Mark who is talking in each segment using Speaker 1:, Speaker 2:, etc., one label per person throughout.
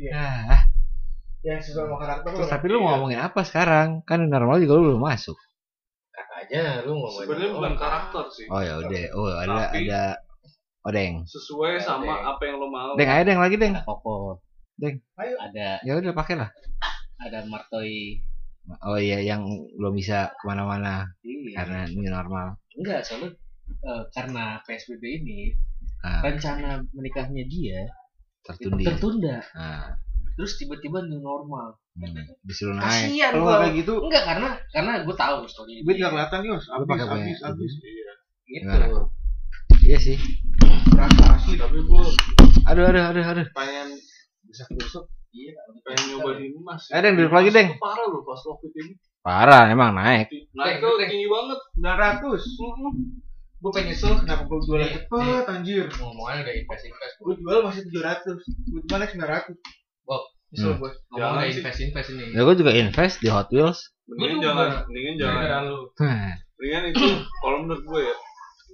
Speaker 1: Iya.
Speaker 2: Ah,
Speaker 1: yang sesuai sama karakter
Speaker 2: terus
Speaker 1: lu Iya.
Speaker 2: tapi lu
Speaker 1: ngerti,
Speaker 2: ngomongin apa sekarang? Kan normal juga lu belum masuk.
Speaker 3: Katanya lu ngomongin
Speaker 4: Sebenarnya bukan karakter sih.
Speaker 2: Oh ya udah. Oh ada
Speaker 4: Tapi-
Speaker 2: ada odeng.
Speaker 4: Sesuai
Speaker 3: Ya,
Speaker 4: sama
Speaker 3: Deng.
Speaker 4: apa yang lo mau.
Speaker 2: Deng aja deng lagi deng.
Speaker 5: ada Koko
Speaker 2: Deng.
Speaker 1: Ayo.
Speaker 5: ada
Speaker 2: Ya udah pakailah.
Speaker 5: ada Martoi
Speaker 2: Oh iya yang belum bisa kemana-mana
Speaker 5: iya
Speaker 2: karena new normal.
Speaker 5: enggak soalnya eh, karena PSBB ini
Speaker 2: Ah.
Speaker 5: Kan rencana menikahnya
Speaker 1: ya?
Speaker 5: dia
Speaker 2: Tertunda.
Speaker 5: tertunda
Speaker 2: Nah,
Speaker 5: terus tiba-tiba new normal
Speaker 2: hmm, disuruh naik.
Speaker 5: kasihan
Speaker 1: Kalau
Speaker 5: gua
Speaker 1: kayak gitu,
Speaker 5: enggak karena karena gue tahu story
Speaker 1: gue tidak kelihatan nih, Mas. Abis,
Speaker 2: pakai
Speaker 1: abis,
Speaker 2: banyak.
Speaker 1: abis.
Speaker 2: Gimana?
Speaker 1: Gitu.
Speaker 2: Iya sih.
Speaker 1: Berasa asli, tapi gue
Speaker 2: Aduh aduh aduh aduh.
Speaker 1: pengen bisa besok. Iya,
Speaker 4: Pengen nyobain emas.
Speaker 2: Eh, Deng, duduk lagi, Deng.
Speaker 4: Parah lu pas covid ini.
Speaker 2: Parah emang naik.
Speaker 4: Nah, itu tinggi banget.
Speaker 1: 900. Gue pengen nyesel kenapa gue jual cepet, anjir.
Speaker 3: ngomongannya udah invest invest
Speaker 1: Gue jual masih 700. Gue jual naik 900.
Speaker 3: Wow.
Speaker 1: Nyesel
Speaker 2: Hmm.
Speaker 1: gue.
Speaker 3: ngomong
Speaker 4: Jangan
Speaker 3: udah
Speaker 4: sih.
Speaker 3: invest invest ini
Speaker 2: Ya gue juga invest di Hot Wheels. Nah,
Speaker 4: Mendingan
Speaker 1: Gua juga.
Speaker 4: jangan, mendingan jangan.
Speaker 3: Beneran lu
Speaker 2: Hah,
Speaker 4: Mendingan itu kalau menurut gue ya.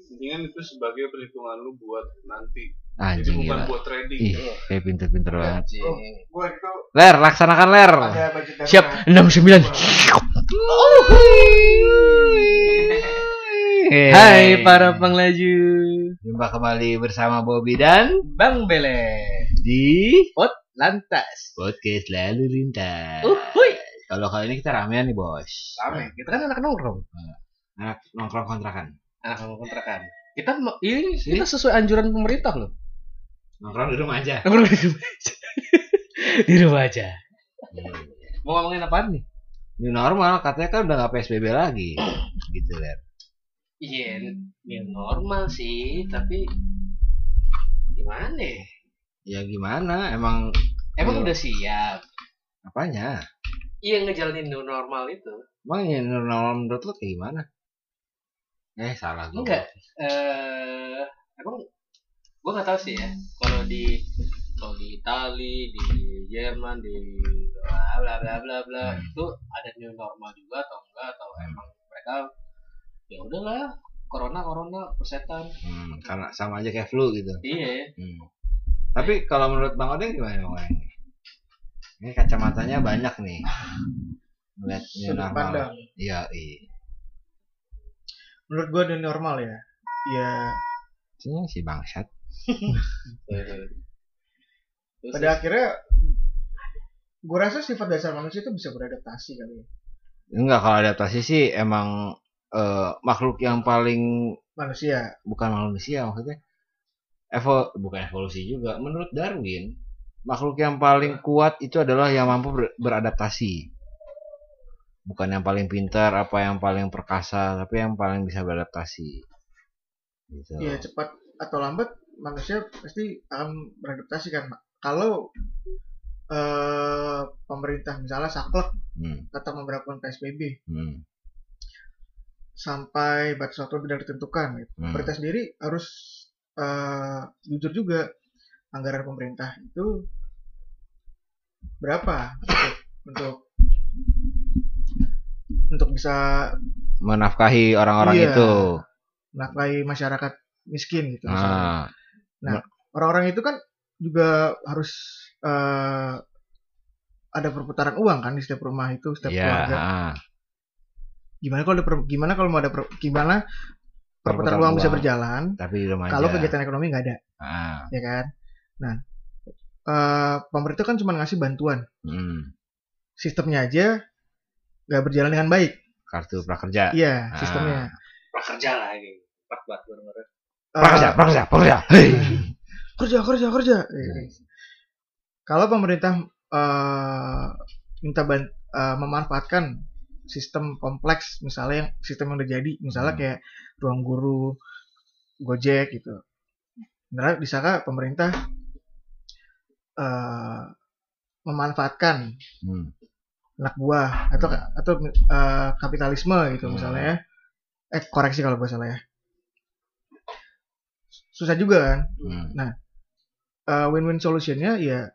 Speaker 4: Mendingan itu sebagai perhitungan lu buat nanti. Jadi
Speaker 2: Anjing
Speaker 4: bukan
Speaker 2: gila. Iya.
Speaker 4: buat trading.
Speaker 2: Ih, kayak pinter-pinter banget.
Speaker 3: anjing
Speaker 1: Gue itu
Speaker 2: Ler, laksanakan ler.
Speaker 1: ada budget dari
Speaker 2: Siap, 69.
Speaker 5: Hai para penglaju
Speaker 2: Jumpa kembali bersama Bobby dan
Speaker 5: Bang Bele
Speaker 2: di
Speaker 5: Lantas
Speaker 2: Podcast Lalu Lintas.
Speaker 5: Uhuy
Speaker 2: Kalau kali ini kita ramean nih, Bos.
Speaker 5: Rame Kita kan anak nongkrong
Speaker 2: Anak nongkrong kontrakan.
Speaker 5: Anak nongkrong Ah, kontrakan Kita me- ini kita sesuai anjuran pemerintah loh
Speaker 2: Nongkrong di rumah aja.
Speaker 5: Nongkrong di rumah aja Di rumah aja Mau ngomongin apaan nih?
Speaker 2: Ini normal, katanya kan udah gak PSBB lagi. Gitu, Ler.
Speaker 5: Iya,
Speaker 2: Hmm.
Speaker 5: ya normal sih, tapi gimana ya?
Speaker 2: Ya gimana? Emang
Speaker 5: Emang
Speaker 2: Iya.
Speaker 5: udah siap?
Speaker 2: apanya?
Speaker 5: Iya ngejalanin new normal itu.
Speaker 2: Emang yang normal menurut lo kayak gimana? Eh, salah gue.
Speaker 5: Enggak. Eh, emang gua nggak tahu sih ya. Kalau di kalau di Itali, di Jerman, di bla bla bla bla bla
Speaker 2: Hmm.
Speaker 5: itu ada new normal juga atau enggak atau emang mereka ya udahlah corona corona persetan
Speaker 2: Hmm, karena sama aja kayak flu gitu.
Speaker 5: iya
Speaker 2: Hmm. Tapi kalau menurut Bang Odeng gimana Bang Odeng? Ini kacamatanya banyak nih. Melihat new
Speaker 1: Sudut
Speaker 2: normal.
Speaker 1: pandang.
Speaker 2: Iya, iya.
Speaker 1: Menurut gue udah normal ya. Ya,
Speaker 2: Sini si bangsat.
Speaker 5: Terus-
Speaker 1: pada akhirnya gue rasa sifat dasar manusia itu bisa beradaptasi kali ya.
Speaker 2: Enggak kalau adaptasi sih emang eh, makhluk yang paling
Speaker 1: Manusia.
Speaker 2: bukan manusia maksudnya evo bukan evolusi juga menurut Darwin makhluk yang paling kuat itu adalah yang mampu ber- beradaptasi bukan yang paling pintar apa yang paling perkasa tapi yang paling bisa beradaptasi gitu
Speaker 1: ya cepat atau lambat manusia pasti akan beradaptasi kan Mak. kalau eh pemerintah misalnya saklek
Speaker 2: Hmm,
Speaker 1: tetap memperlakukan PSBB
Speaker 2: hmm,
Speaker 1: sampai batas waktu yang tidak ditentukan gitu.
Speaker 2: hmm.
Speaker 1: pemerintah sendiri harus eh jujur juga anggaran pemerintah itu berapa untuk- untuk untuk bisa
Speaker 2: menafkahi orang-orang
Speaker 1: Iya.
Speaker 2: itu
Speaker 1: menakai masyarakat miskin gitu misalnya.
Speaker 2: nah
Speaker 1: orang-orang itu kan juga harus eh, ada perputaran uang kan di setiap rumah itu setiap
Speaker 2: iya
Speaker 1: keluarga.
Speaker 2: ah,
Speaker 1: Gimana kalau ada per- gimana kalau mau ada per- gimana perputaran uang bisa berjalan
Speaker 2: tapi di rumah
Speaker 1: kalau
Speaker 2: aja.
Speaker 1: kegiatan ekonomi nggak ada,
Speaker 2: Ah,
Speaker 1: ya kan? Nah, eh, pemerintah kan cuma ngasih bantuan,
Speaker 2: hmm.
Speaker 1: sistemnya aja nggak berjalan dengan baik.
Speaker 2: kartu prakerja
Speaker 1: Iya,
Speaker 2: Ah.
Speaker 1: sistemnya.
Speaker 5: prakerja lah ini cepat banget bener-bener.
Speaker 1: Eh,
Speaker 2: prakerja prakerja prakerja Hei.
Speaker 1: kerja kerja kerja
Speaker 2: Iya.
Speaker 1: Iya, kalau pemerintah eh, minta ban- eh, memanfaatkan sistem kompleks misalnya yang sistem yang udah jadi misalnya
Speaker 2: Hmm.
Speaker 1: kayak ruang guru gojek gitu benar bisa nggak pemerintah eh, memanfaatkan
Speaker 2: Hmm,
Speaker 1: anak buah atau atau eh, kapitalisme gitu
Speaker 2: Hmm.
Speaker 1: misalnya ya. eh koreksi kalau gue salah ya susah juga kan
Speaker 2: hmm.
Speaker 1: eh, win-win solutionnya ya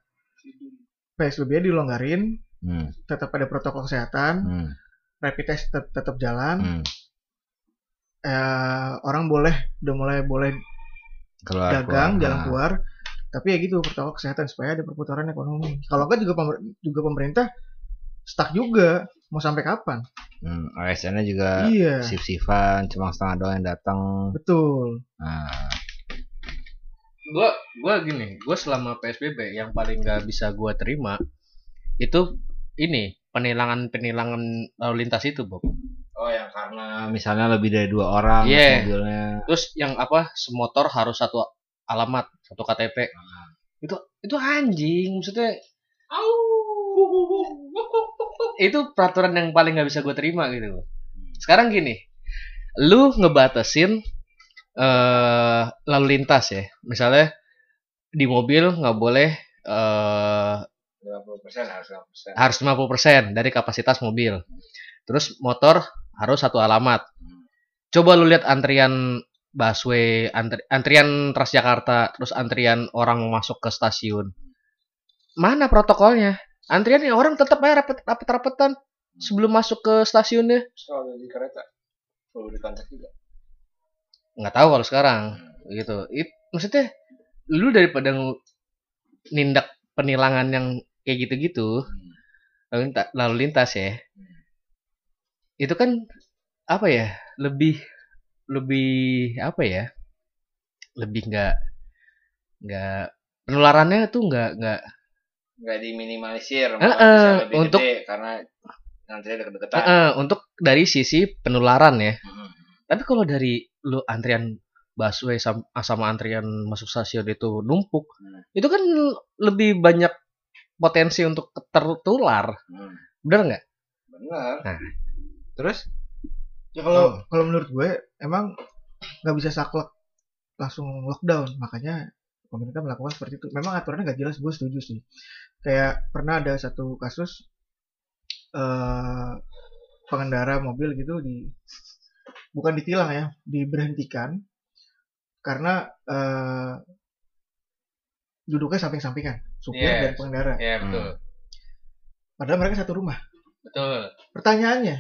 Speaker 1: PSBB dilonggarin,
Speaker 2: Hmm,
Speaker 1: tetap ada protokol kesehatan,
Speaker 2: hmm,
Speaker 1: rapid test tetap, tetap jalan,
Speaker 2: hmm.
Speaker 1: eh, orang boleh udah mulai boleh
Speaker 2: keluar
Speaker 1: dagang,
Speaker 2: keluar.
Speaker 1: jalan
Speaker 2: Ah.
Speaker 1: keluar, tapi ya gitu protokol kesehatan supaya ada perputaran ekonomi kalau enggak juga pemer- juga pemerintah stuck juga mau sampai kapan
Speaker 2: Hmm, ASN-nya juga
Speaker 1: iya
Speaker 2: sif-sifan, cuma setengah doang yang datang.
Speaker 1: betul
Speaker 2: Nah,
Speaker 5: gua gua gini gua selama psbb yang paling gak bisa gua terima itu ini penilangan penilangan lalu lintas itu Bob
Speaker 2: oh yang karena misalnya lebih dari dua orang
Speaker 5: Iya.
Speaker 2: terus mobilnya.
Speaker 5: terus yang apa semotor harus satu alamat satu KTP itu itu anjing maksudnya itu peraturan yang paling nggak bisa gue terima gitu sekarang gini lu ngebatasin eh lalu lintas ya misalnya di mobil nggak boleh eh
Speaker 2: 50% harus 50%.
Speaker 5: harus 50% dari kapasitas mobil. Terus motor harus satu alamat. Coba lu lihat antrian busway, antri- antrian Transjakarta, terus antrian orang mau masuk ke stasiun. Mana protokolnya? Antrian ya orang tetap aja rapet rapet rapetan sebelum masuk ke stasiunnya.
Speaker 4: Kalau di kereta, kalau di kantor juga.
Speaker 5: Nggak tahu kalau sekarang gitu. It, maksudnya lu daripada ngu- nindak penilangan yang kayak gitu-gitu, lalu lintas, lalu lintas ya itu kan apa ya lebih lebih apa ya lebih nggak nggak penularannya tuh nggak nggak
Speaker 2: Enggak diminimalisir,
Speaker 5: malah Eh, bisa eh, lebih untuk-
Speaker 2: karena nantinya deket-deketan.
Speaker 5: eh, untuk dari sisi penularan ya tapi kalau dari lu antrian busway sam- sama, antrian masuk stasiun itu numpuk
Speaker 2: Hmm.
Speaker 5: itu kan lebih banyak potensi untuk tertular bener nggak
Speaker 2: Benar.
Speaker 5: Nah.
Speaker 2: Terus
Speaker 1: ya kalau kalau menurut gue emang nggak bisa saklek langsung lockdown makanya pemerintah melakukan seperti itu memang aturannya nggak jelas gue setuju sih kayak pernah ada satu kasus eh pengendara mobil gitu di bukan ditilang ya diberhentikan karena eh duduknya samping-sampingan supir
Speaker 5: Yes.
Speaker 1: dan pengendara
Speaker 5: ya
Speaker 2: betul.
Speaker 1: padahal mereka satu rumah
Speaker 5: betul
Speaker 1: Pertanyaannya,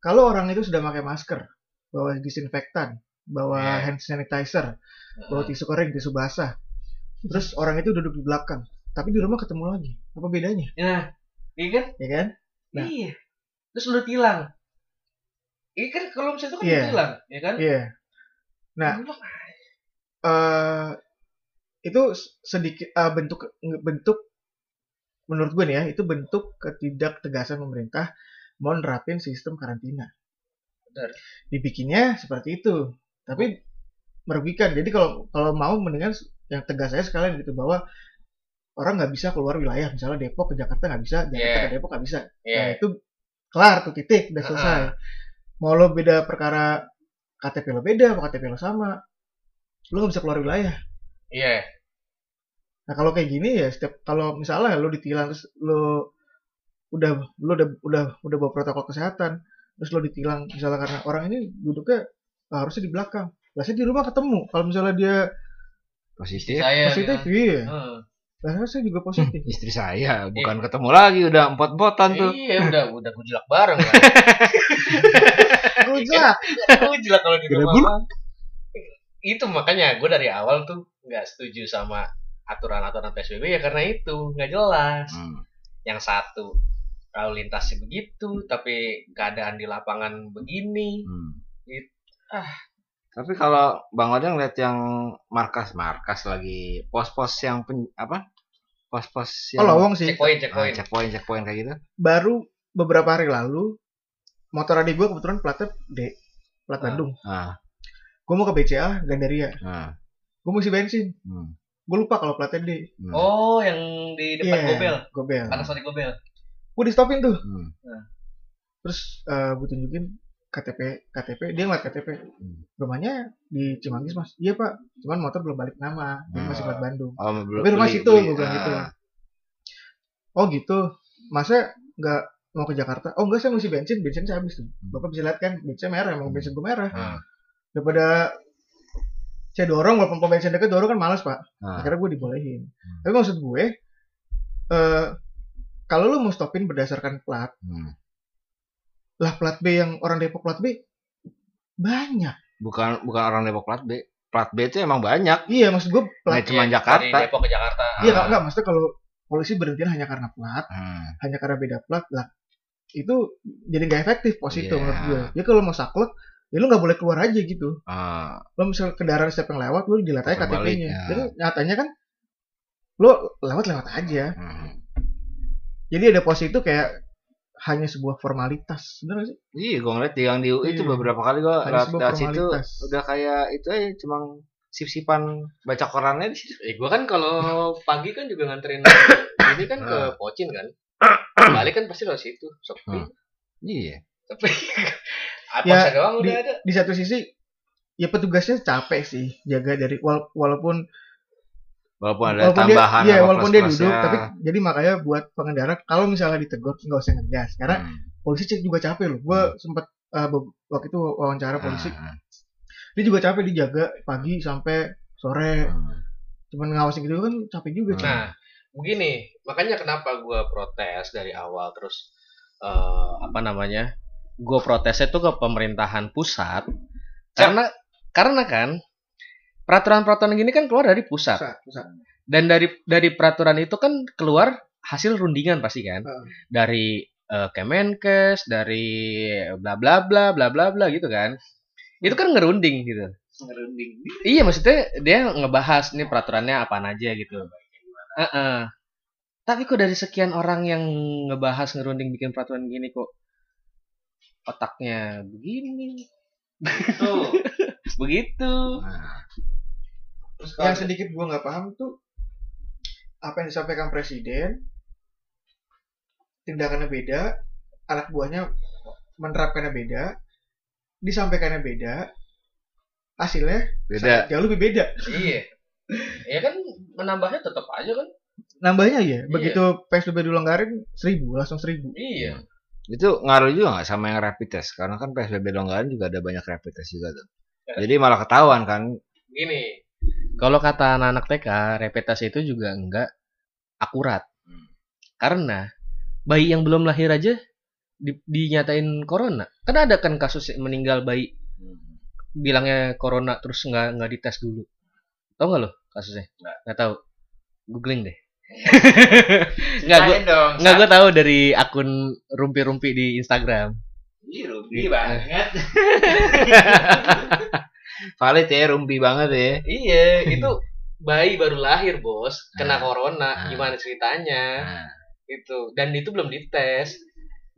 Speaker 1: kalau orang itu sudah pakai masker, bawa disinfektan, bawa
Speaker 5: Iya.
Speaker 1: hand sanitizer, bawa tisu kering, tisu basah, terus orang itu duduk di belakang, tapi di rumah ketemu lagi, apa bedanya,
Speaker 5: nah ini kan
Speaker 1: ya kan? Nah.
Speaker 5: Iya. Terus lu tilang. Ini kan kalau misalnya itu kan
Speaker 1: Iya.
Speaker 5: ditilang, ya kan?
Speaker 1: Iya. Nah.
Speaker 5: Lu-
Speaker 1: Eh, itu sedikit eh, bentuk bentuk menurut gue nih ya, itu bentuk ketidaktegasan pemerintah mau nerapin sistem karantina.
Speaker 5: Benar.
Speaker 1: Dibikinnya seperti itu, tapi merugikan. Jadi kalau kalau mau mendingan yang tegas saya sekalian gitu bahwa orang nggak bisa keluar wilayah, misalnya Depok ke Jakarta nggak bisa, Jakarta
Speaker 5: Iya.
Speaker 1: ke Depok nggak bisa.
Speaker 5: Iya.
Speaker 1: Nah, itu kelar tuh titik udah selesai. Mau lo beda perkara KTP lo beda, mau KTP lo sama, lo nggak bisa keluar wilayah.
Speaker 5: Iya.
Speaker 1: Nah kalau kayak gini ya setiap kalau misalnya lo ditilang terus lo udah lo udah udah udah bawa protokol kesehatan terus lo ditilang misalnya karena orang ini duduknya ah, harusnya di belakang. Biasanya di rumah ketemu kalau misalnya dia
Speaker 2: positif.
Speaker 5: Saya
Speaker 1: positif,
Speaker 5: kan.
Speaker 1: iya.
Speaker 5: Heeh.
Speaker 1: Lah, harusnya juga positif.
Speaker 2: Istri saya bukan ketemu lagi udah empat botan tuh.
Speaker 5: Iya, udah udah kujelak bareng kan.
Speaker 1: Rujak.
Speaker 5: kujelak kalau di
Speaker 2: Gila
Speaker 5: rumah.
Speaker 2: bulu.
Speaker 5: Bang. Itu makanya gue dari awal tuh nggak setuju sama aturan-aturan PSBB ya karena itu nggak jelas.
Speaker 2: Hmm.
Speaker 5: Yang satu lalu lintasnya begitu, tapi keadaan di lapangan begini.
Speaker 2: Hmm.
Speaker 5: It-
Speaker 2: Tapi kalau Bang Odeng lihat yang markas-markas lagi pos-pos yang pen- apa? Pos-pos yang
Speaker 1: Oh lowong sih.
Speaker 5: Checkpoint,
Speaker 2: Ah,
Speaker 5: checkpoint.
Speaker 2: checkpoint, checkpoint kayak gitu.
Speaker 1: Baru beberapa hari lalu motor adik gue kebetulan platnya D, plat
Speaker 5: Ah.
Speaker 1: Bandung.
Speaker 2: Ah,
Speaker 1: Gue mau ke BCA Gandaria.
Speaker 2: ah.
Speaker 1: Gue mau isi bensin.
Speaker 2: Hmm.
Speaker 1: Gue lupa kalau platnya D.
Speaker 2: hmm,
Speaker 5: Oh, yang di depan
Speaker 1: Iya,
Speaker 5: gobel.
Speaker 1: Gobel.
Speaker 5: Panasonic gobel.
Speaker 1: Gue di stopin tuh.
Speaker 2: hmm.
Speaker 1: Terus eh gue tunjukin KTP, KTP. Dia ngeliat KTP. Rumahnya di Cimanggis mas. Iya pak. Cuman motor belum balik nama. Dia masih plat Bandung.
Speaker 2: Oh, belum.
Speaker 1: Tapi rumah
Speaker 2: beli-
Speaker 1: situ,
Speaker 2: beli,
Speaker 1: gua bilang
Speaker 2: ah.
Speaker 1: gitu. Oh gitu. Masa nggak mau ke Jakarta? Oh enggak saya mau isi bensin. Bensin saya habis tuh. Bapak bisa lihat kan bensin merah. Emang bensin gue merah.
Speaker 2: Hmm.
Speaker 1: Daripada saya dorong walaupun pom bensin deket dorong kan malas pak.
Speaker 2: Ah, Hmm.
Speaker 1: akhirnya gue dibolehin tapi maksud gue eh kalau lu mau stopin berdasarkan plat
Speaker 2: hmm.
Speaker 1: lah plat B yang orang Depok plat B banyak
Speaker 2: Bukan bukan orang Depok plat B. plat B itu emang banyak.
Speaker 1: Iya maksud gue
Speaker 2: Nggak
Speaker 1: plat.
Speaker 2: cuma
Speaker 3: Iya,
Speaker 2: Jakarta.
Speaker 3: Dari Depok ke Jakarta.
Speaker 1: Iya nggak nggak maksudnya kalau polisi berhentian hanya karena plat,
Speaker 2: Hmm.
Speaker 1: hanya karena beda plat lah itu jadi nggak efektif pos itu
Speaker 2: Iya.
Speaker 1: menurut gue. Ya kalau mau saklek ya lu nggak boleh keluar aja gitu.
Speaker 2: Ah,
Speaker 1: Lo misalnya kendaraan siapa yang lewat lu dilihat aja
Speaker 2: Putar balik,
Speaker 1: KTP-nya.
Speaker 2: ya.
Speaker 1: Jadi nyatanya kan lu lewat lewat aja.
Speaker 2: hmm.
Speaker 1: Jadi ada pos itu kayak hanya sebuah formalitas, bener nggak sih?
Speaker 2: Iya, gue ngeliat di- yang di UI itu
Speaker 1: Iya.
Speaker 2: beberapa kali gue
Speaker 1: Hanya
Speaker 2: lewat
Speaker 1: sebuah
Speaker 2: lewat Nah, situ
Speaker 1: formalitas.
Speaker 2: udah kayak itu aja cuma sip-sipan baca korannya di situ.
Speaker 5: Eh, gua kan kalau pagi kan juga nganterin ini kan ke
Speaker 1: Hmm.
Speaker 5: Pocin kan. Balik kan pasti lewat situ, sepi.
Speaker 2: Hmm. Iya.
Speaker 5: Tapi apa
Speaker 1: Ya,
Speaker 5: ya, doang udah ada.
Speaker 1: Di satu sisi ya petugasnya capek sih jaga dari wal- walaupun
Speaker 2: Walaupun ada
Speaker 1: walaupun dia
Speaker 2: tambahan
Speaker 1: iya,
Speaker 2: apa
Speaker 1: walaupun dia
Speaker 2: plus-plusnya.
Speaker 1: duduk tapi jadi makanya buat pengendara kalau misalnya ditegur nggak usah ngegas karena
Speaker 2: Hmm.
Speaker 1: polisi cek juga capek loh. Gue sempet eh, be- waktu itu wawancara polisi,
Speaker 2: Hmm.
Speaker 1: dia juga capek dijaga pagi sampai sore.
Speaker 2: Hmm.
Speaker 1: Cuman ngawasin gitu kan capek juga. cuy.
Speaker 5: Nah, begini, makanya kenapa gua protes dari awal terus eh, apa namanya? Gua protesnya tuh ke pemerintahan pusat karena karena kan peraturan-peraturan gini kan keluar dari pusat
Speaker 2: Nah.
Speaker 1: Pusat, pusat.
Speaker 5: dan dari dari peraturan itu kan keluar hasil rundingan pasti kan
Speaker 1: Heeh.
Speaker 5: dari eh, Kemenkes dari bla bla bla bla bla bla gitu kan itu kan ngerunding gitu
Speaker 4: ngerunding
Speaker 5: Iya maksudnya dia ngebahas nih peraturannya apaan aja gitu. Heeh. Tapi kok dari sekian orang yang ngebahas ngerunding bikin peraturan gini kok otaknya begini,
Speaker 4: tuh
Speaker 5: begitu.
Speaker 4: terus kalau
Speaker 1: Yang sedikit gue nggak paham tuh apa yang disampaikan presiden, tindakannya beda, anak buahnya menerapkannya beda, disampaikannya beda, hasilnya
Speaker 2: Beda.
Speaker 1: sangat jauh lebih beda.
Speaker 5: Iya. Ya kan menambahnya tetap aja kan.
Speaker 1: Nambahnya
Speaker 2: Iya.
Speaker 1: ya, begitu PSBB dilonggarin seribu langsung seribu.
Speaker 5: Iya.
Speaker 2: Itu ngaruh juga nggak sama yang rapid test? Karena kan PSBB longgaran juga ada banyak rapid test juga tuh. Jadi malah ketahuan kan.
Speaker 5: Gini. Kalau kata anak-anak TK, rapid test itu juga enggak akurat. Karena bayi yang belum lahir aja di- dinyatain corona. Kan ada kan kasus meninggal bayi
Speaker 2: Hmm.
Speaker 5: bilangnya corona terus nggak nggak dites dulu tau nggak lo kasusnya nggak tahu googling deh nggak gue
Speaker 3: Ceritain dong.
Speaker 5: nggak gue tahu dari akun rumpi-rumpi di Instagram
Speaker 3: Ih, rugi
Speaker 2: Iya.
Speaker 3: banget.
Speaker 2: Valid ya, rumpi banget ya.
Speaker 5: iya itu bayi baru lahir bos
Speaker 2: kena
Speaker 5: corona
Speaker 2: Gimana
Speaker 5: ceritanya
Speaker 2: Nah,
Speaker 5: itu Gitu. dan itu belum dites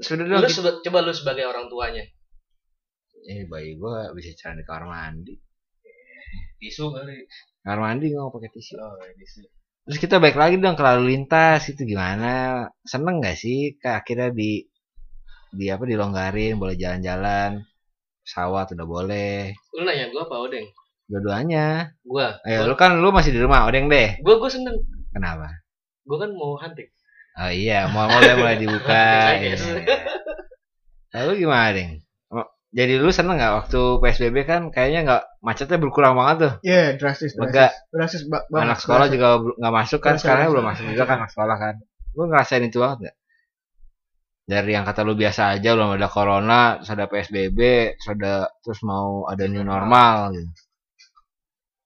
Speaker 2: sudah dong. kita-
Speaker 5: coba lu sebagai orang tuanya
Speaker 2: Eh, bayi gua bisa jalan di kamar mandi.
Speaker 5: tisu kali
Speaker 2: Kamar mandi nggak mau pakai tisu.
Speaker 5: oh, tisu
Speaker 2: Terus kita balik lagi dong ke lalu lintas itu gimana? Seneng nggak sih ke akhirnya di di apa dilonggarin boleh jalan-jalan pesawat udah boleh
Speaker 5: lu nanya gue apa odeng
Speaker 2: dua-duanya
Speaker 5: gue
Speaker 2: ayo lu kan lu masih di rumah odeng deh
Speaker 5: gue gue seneng
Speaker 2: kenapa
Speaker 5: gue kan mau hunting
Speaker 2: oh iya mau mulai mulai dibuka
Speaker 5: Hunting, I
Speaker 2: iya.
Speaker 5: guess.
Speaker 2: lalu gimana deng Oh, jadi lu seneng nggak waktu psbb kan kayaknya nggak macetnya berkurang banget tuh
Speaker 1: Iya, drastis,
Speaker 2: Lega.
Speaker 1: drastis. Drastis ba- banget.
Speaker 2: anak sekolah
Speaker 1: drastis.
Speaker 2: juga bel- nggak masuk kan
Speaker 1: Terus,
Speaker 2: sekarang
Speaker 1: terus.
Speaker 2: belum masuk juga kan anak sekolah kan lu ngerasain itu banget nggak dari yang kata lu biasa aja belum ada corona terus ada psbb terus ada terus mau ada new normal gitu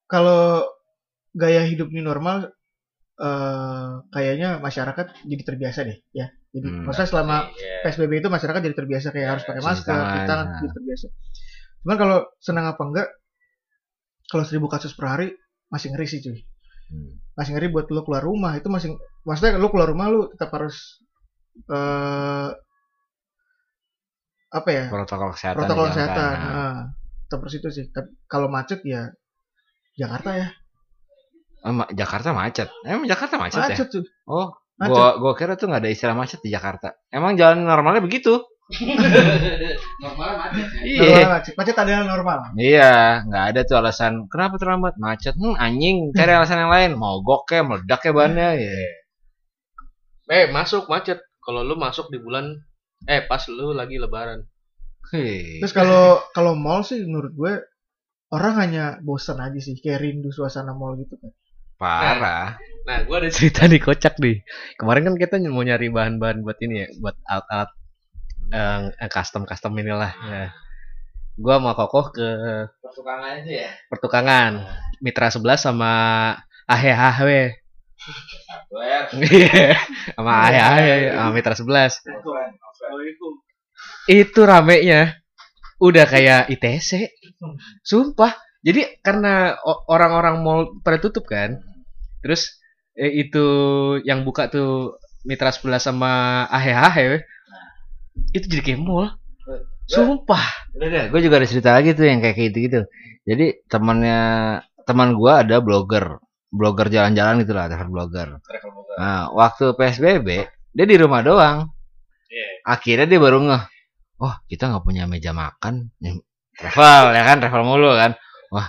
Speaker 1: Kalau gaya hidup ini normal eh kayaknya masyarakat jadi terbiasa deh, ya. Jadi
Speaker 2: Hmm.
Speaker 1: maksudnya selama
Speaker 5: Iya.
Speaker 1: PSBB itu masyarakat jadi terbiasa kayak harus pakai
Speaker 2: cuci
Speaker 1: masker, cuci
Speaker 2: tangan,
Speaker 1: tangan,
Speaker 2: nah.
Speaker 1: jadi terbiasa. Cuman kalau senang apa enggak kalau seribu kasus per hari masih ngeri sih cuy.
Speaker 2: Hmm.
Speaker 1: Masih ngeri buat lu keluar rumah itu masih maksudnya lu keluar rumah lu tetap harus eh apa ya?
Speaker 2: protokol kesehatan
Speaker 1: protokol
Speaker 2: dijalankan.
Speaker 1: kesehatan.
Speaker 2: Nah,
Speaker 1: Nah, tetap harus itu sih. Tapi kalau macet ya Jakarta ya.
Speaker 2: eh, Ma- Jakarta macet emang Jakarta macet, ya
Speaker 1: Macet tuh.
Speaker 2: oh
Speaker 1: Macet.
Speaker 2: gua gua kira tuh nggak ada istilah macet di Jakarta emang jalan normalnya begitu
Speaker 3: Normal macet ya.
Speaker 1: Normal
Speaker 2: iya
Speaker 1: macet. Macet adalah normal.
Speaker 2: Iya, nggak ada tuh alasan kenapa terlambat macet. Hmm, anjing, cari alasan yang lain. Mogok ya, meledak ya bannya. Iya.
Speaker 5: Eh masuk macet. Kalau lu masuk di bulan eh pas lu lagi lebaran.
Speaker 2: Hei.
Speaker 1: Terus kalau kalau mall sih menurut gue orang hanya bosan aja sih kayak rindu suasana mall gitu kan.
Speaker 2: Parah.
Speaker 5: Nah, gua ada cerita nih kocak nih. Kemarin kan kita mau nyari eh,
Speaker 2: Ah.
Speaker 5: bahan-bahan buat ini ya, buat alat-alat eh, custom-custom inilah. Ya. gua sama kokoh ke
Speaker 3: pertukangan itu ya
Speaker 5: pertukangan mitra sebelah sama ahe ahe
Speaker 3: software
Speaker 5: Iya, sama ahe ahe sama mitra sebelas
Speaker 4: Assalamualaikum.
Speaker 5: itu ramenya udah kayak ITC sumpah jadi karena o- orang-orang mall pada tutup kan terus eh, itu yang buka tuh mitra sebelah sama ahe ahe itu jadi kayak mall sumpah
Speaker 2: Udah deh, gue juga ada cerita lagi tuh yang kayak gitu gitu. Jadi temannya teman gue ada blogger, blogger jalan-jalan gitu lah, travel blogger. Nah, waktu PSBB dia di rumah doang. Iya. Akhirnya dia baru ngeh, wah kita nggak punya meja makan, Nih, travel ya kan, travel mulu kan. Wah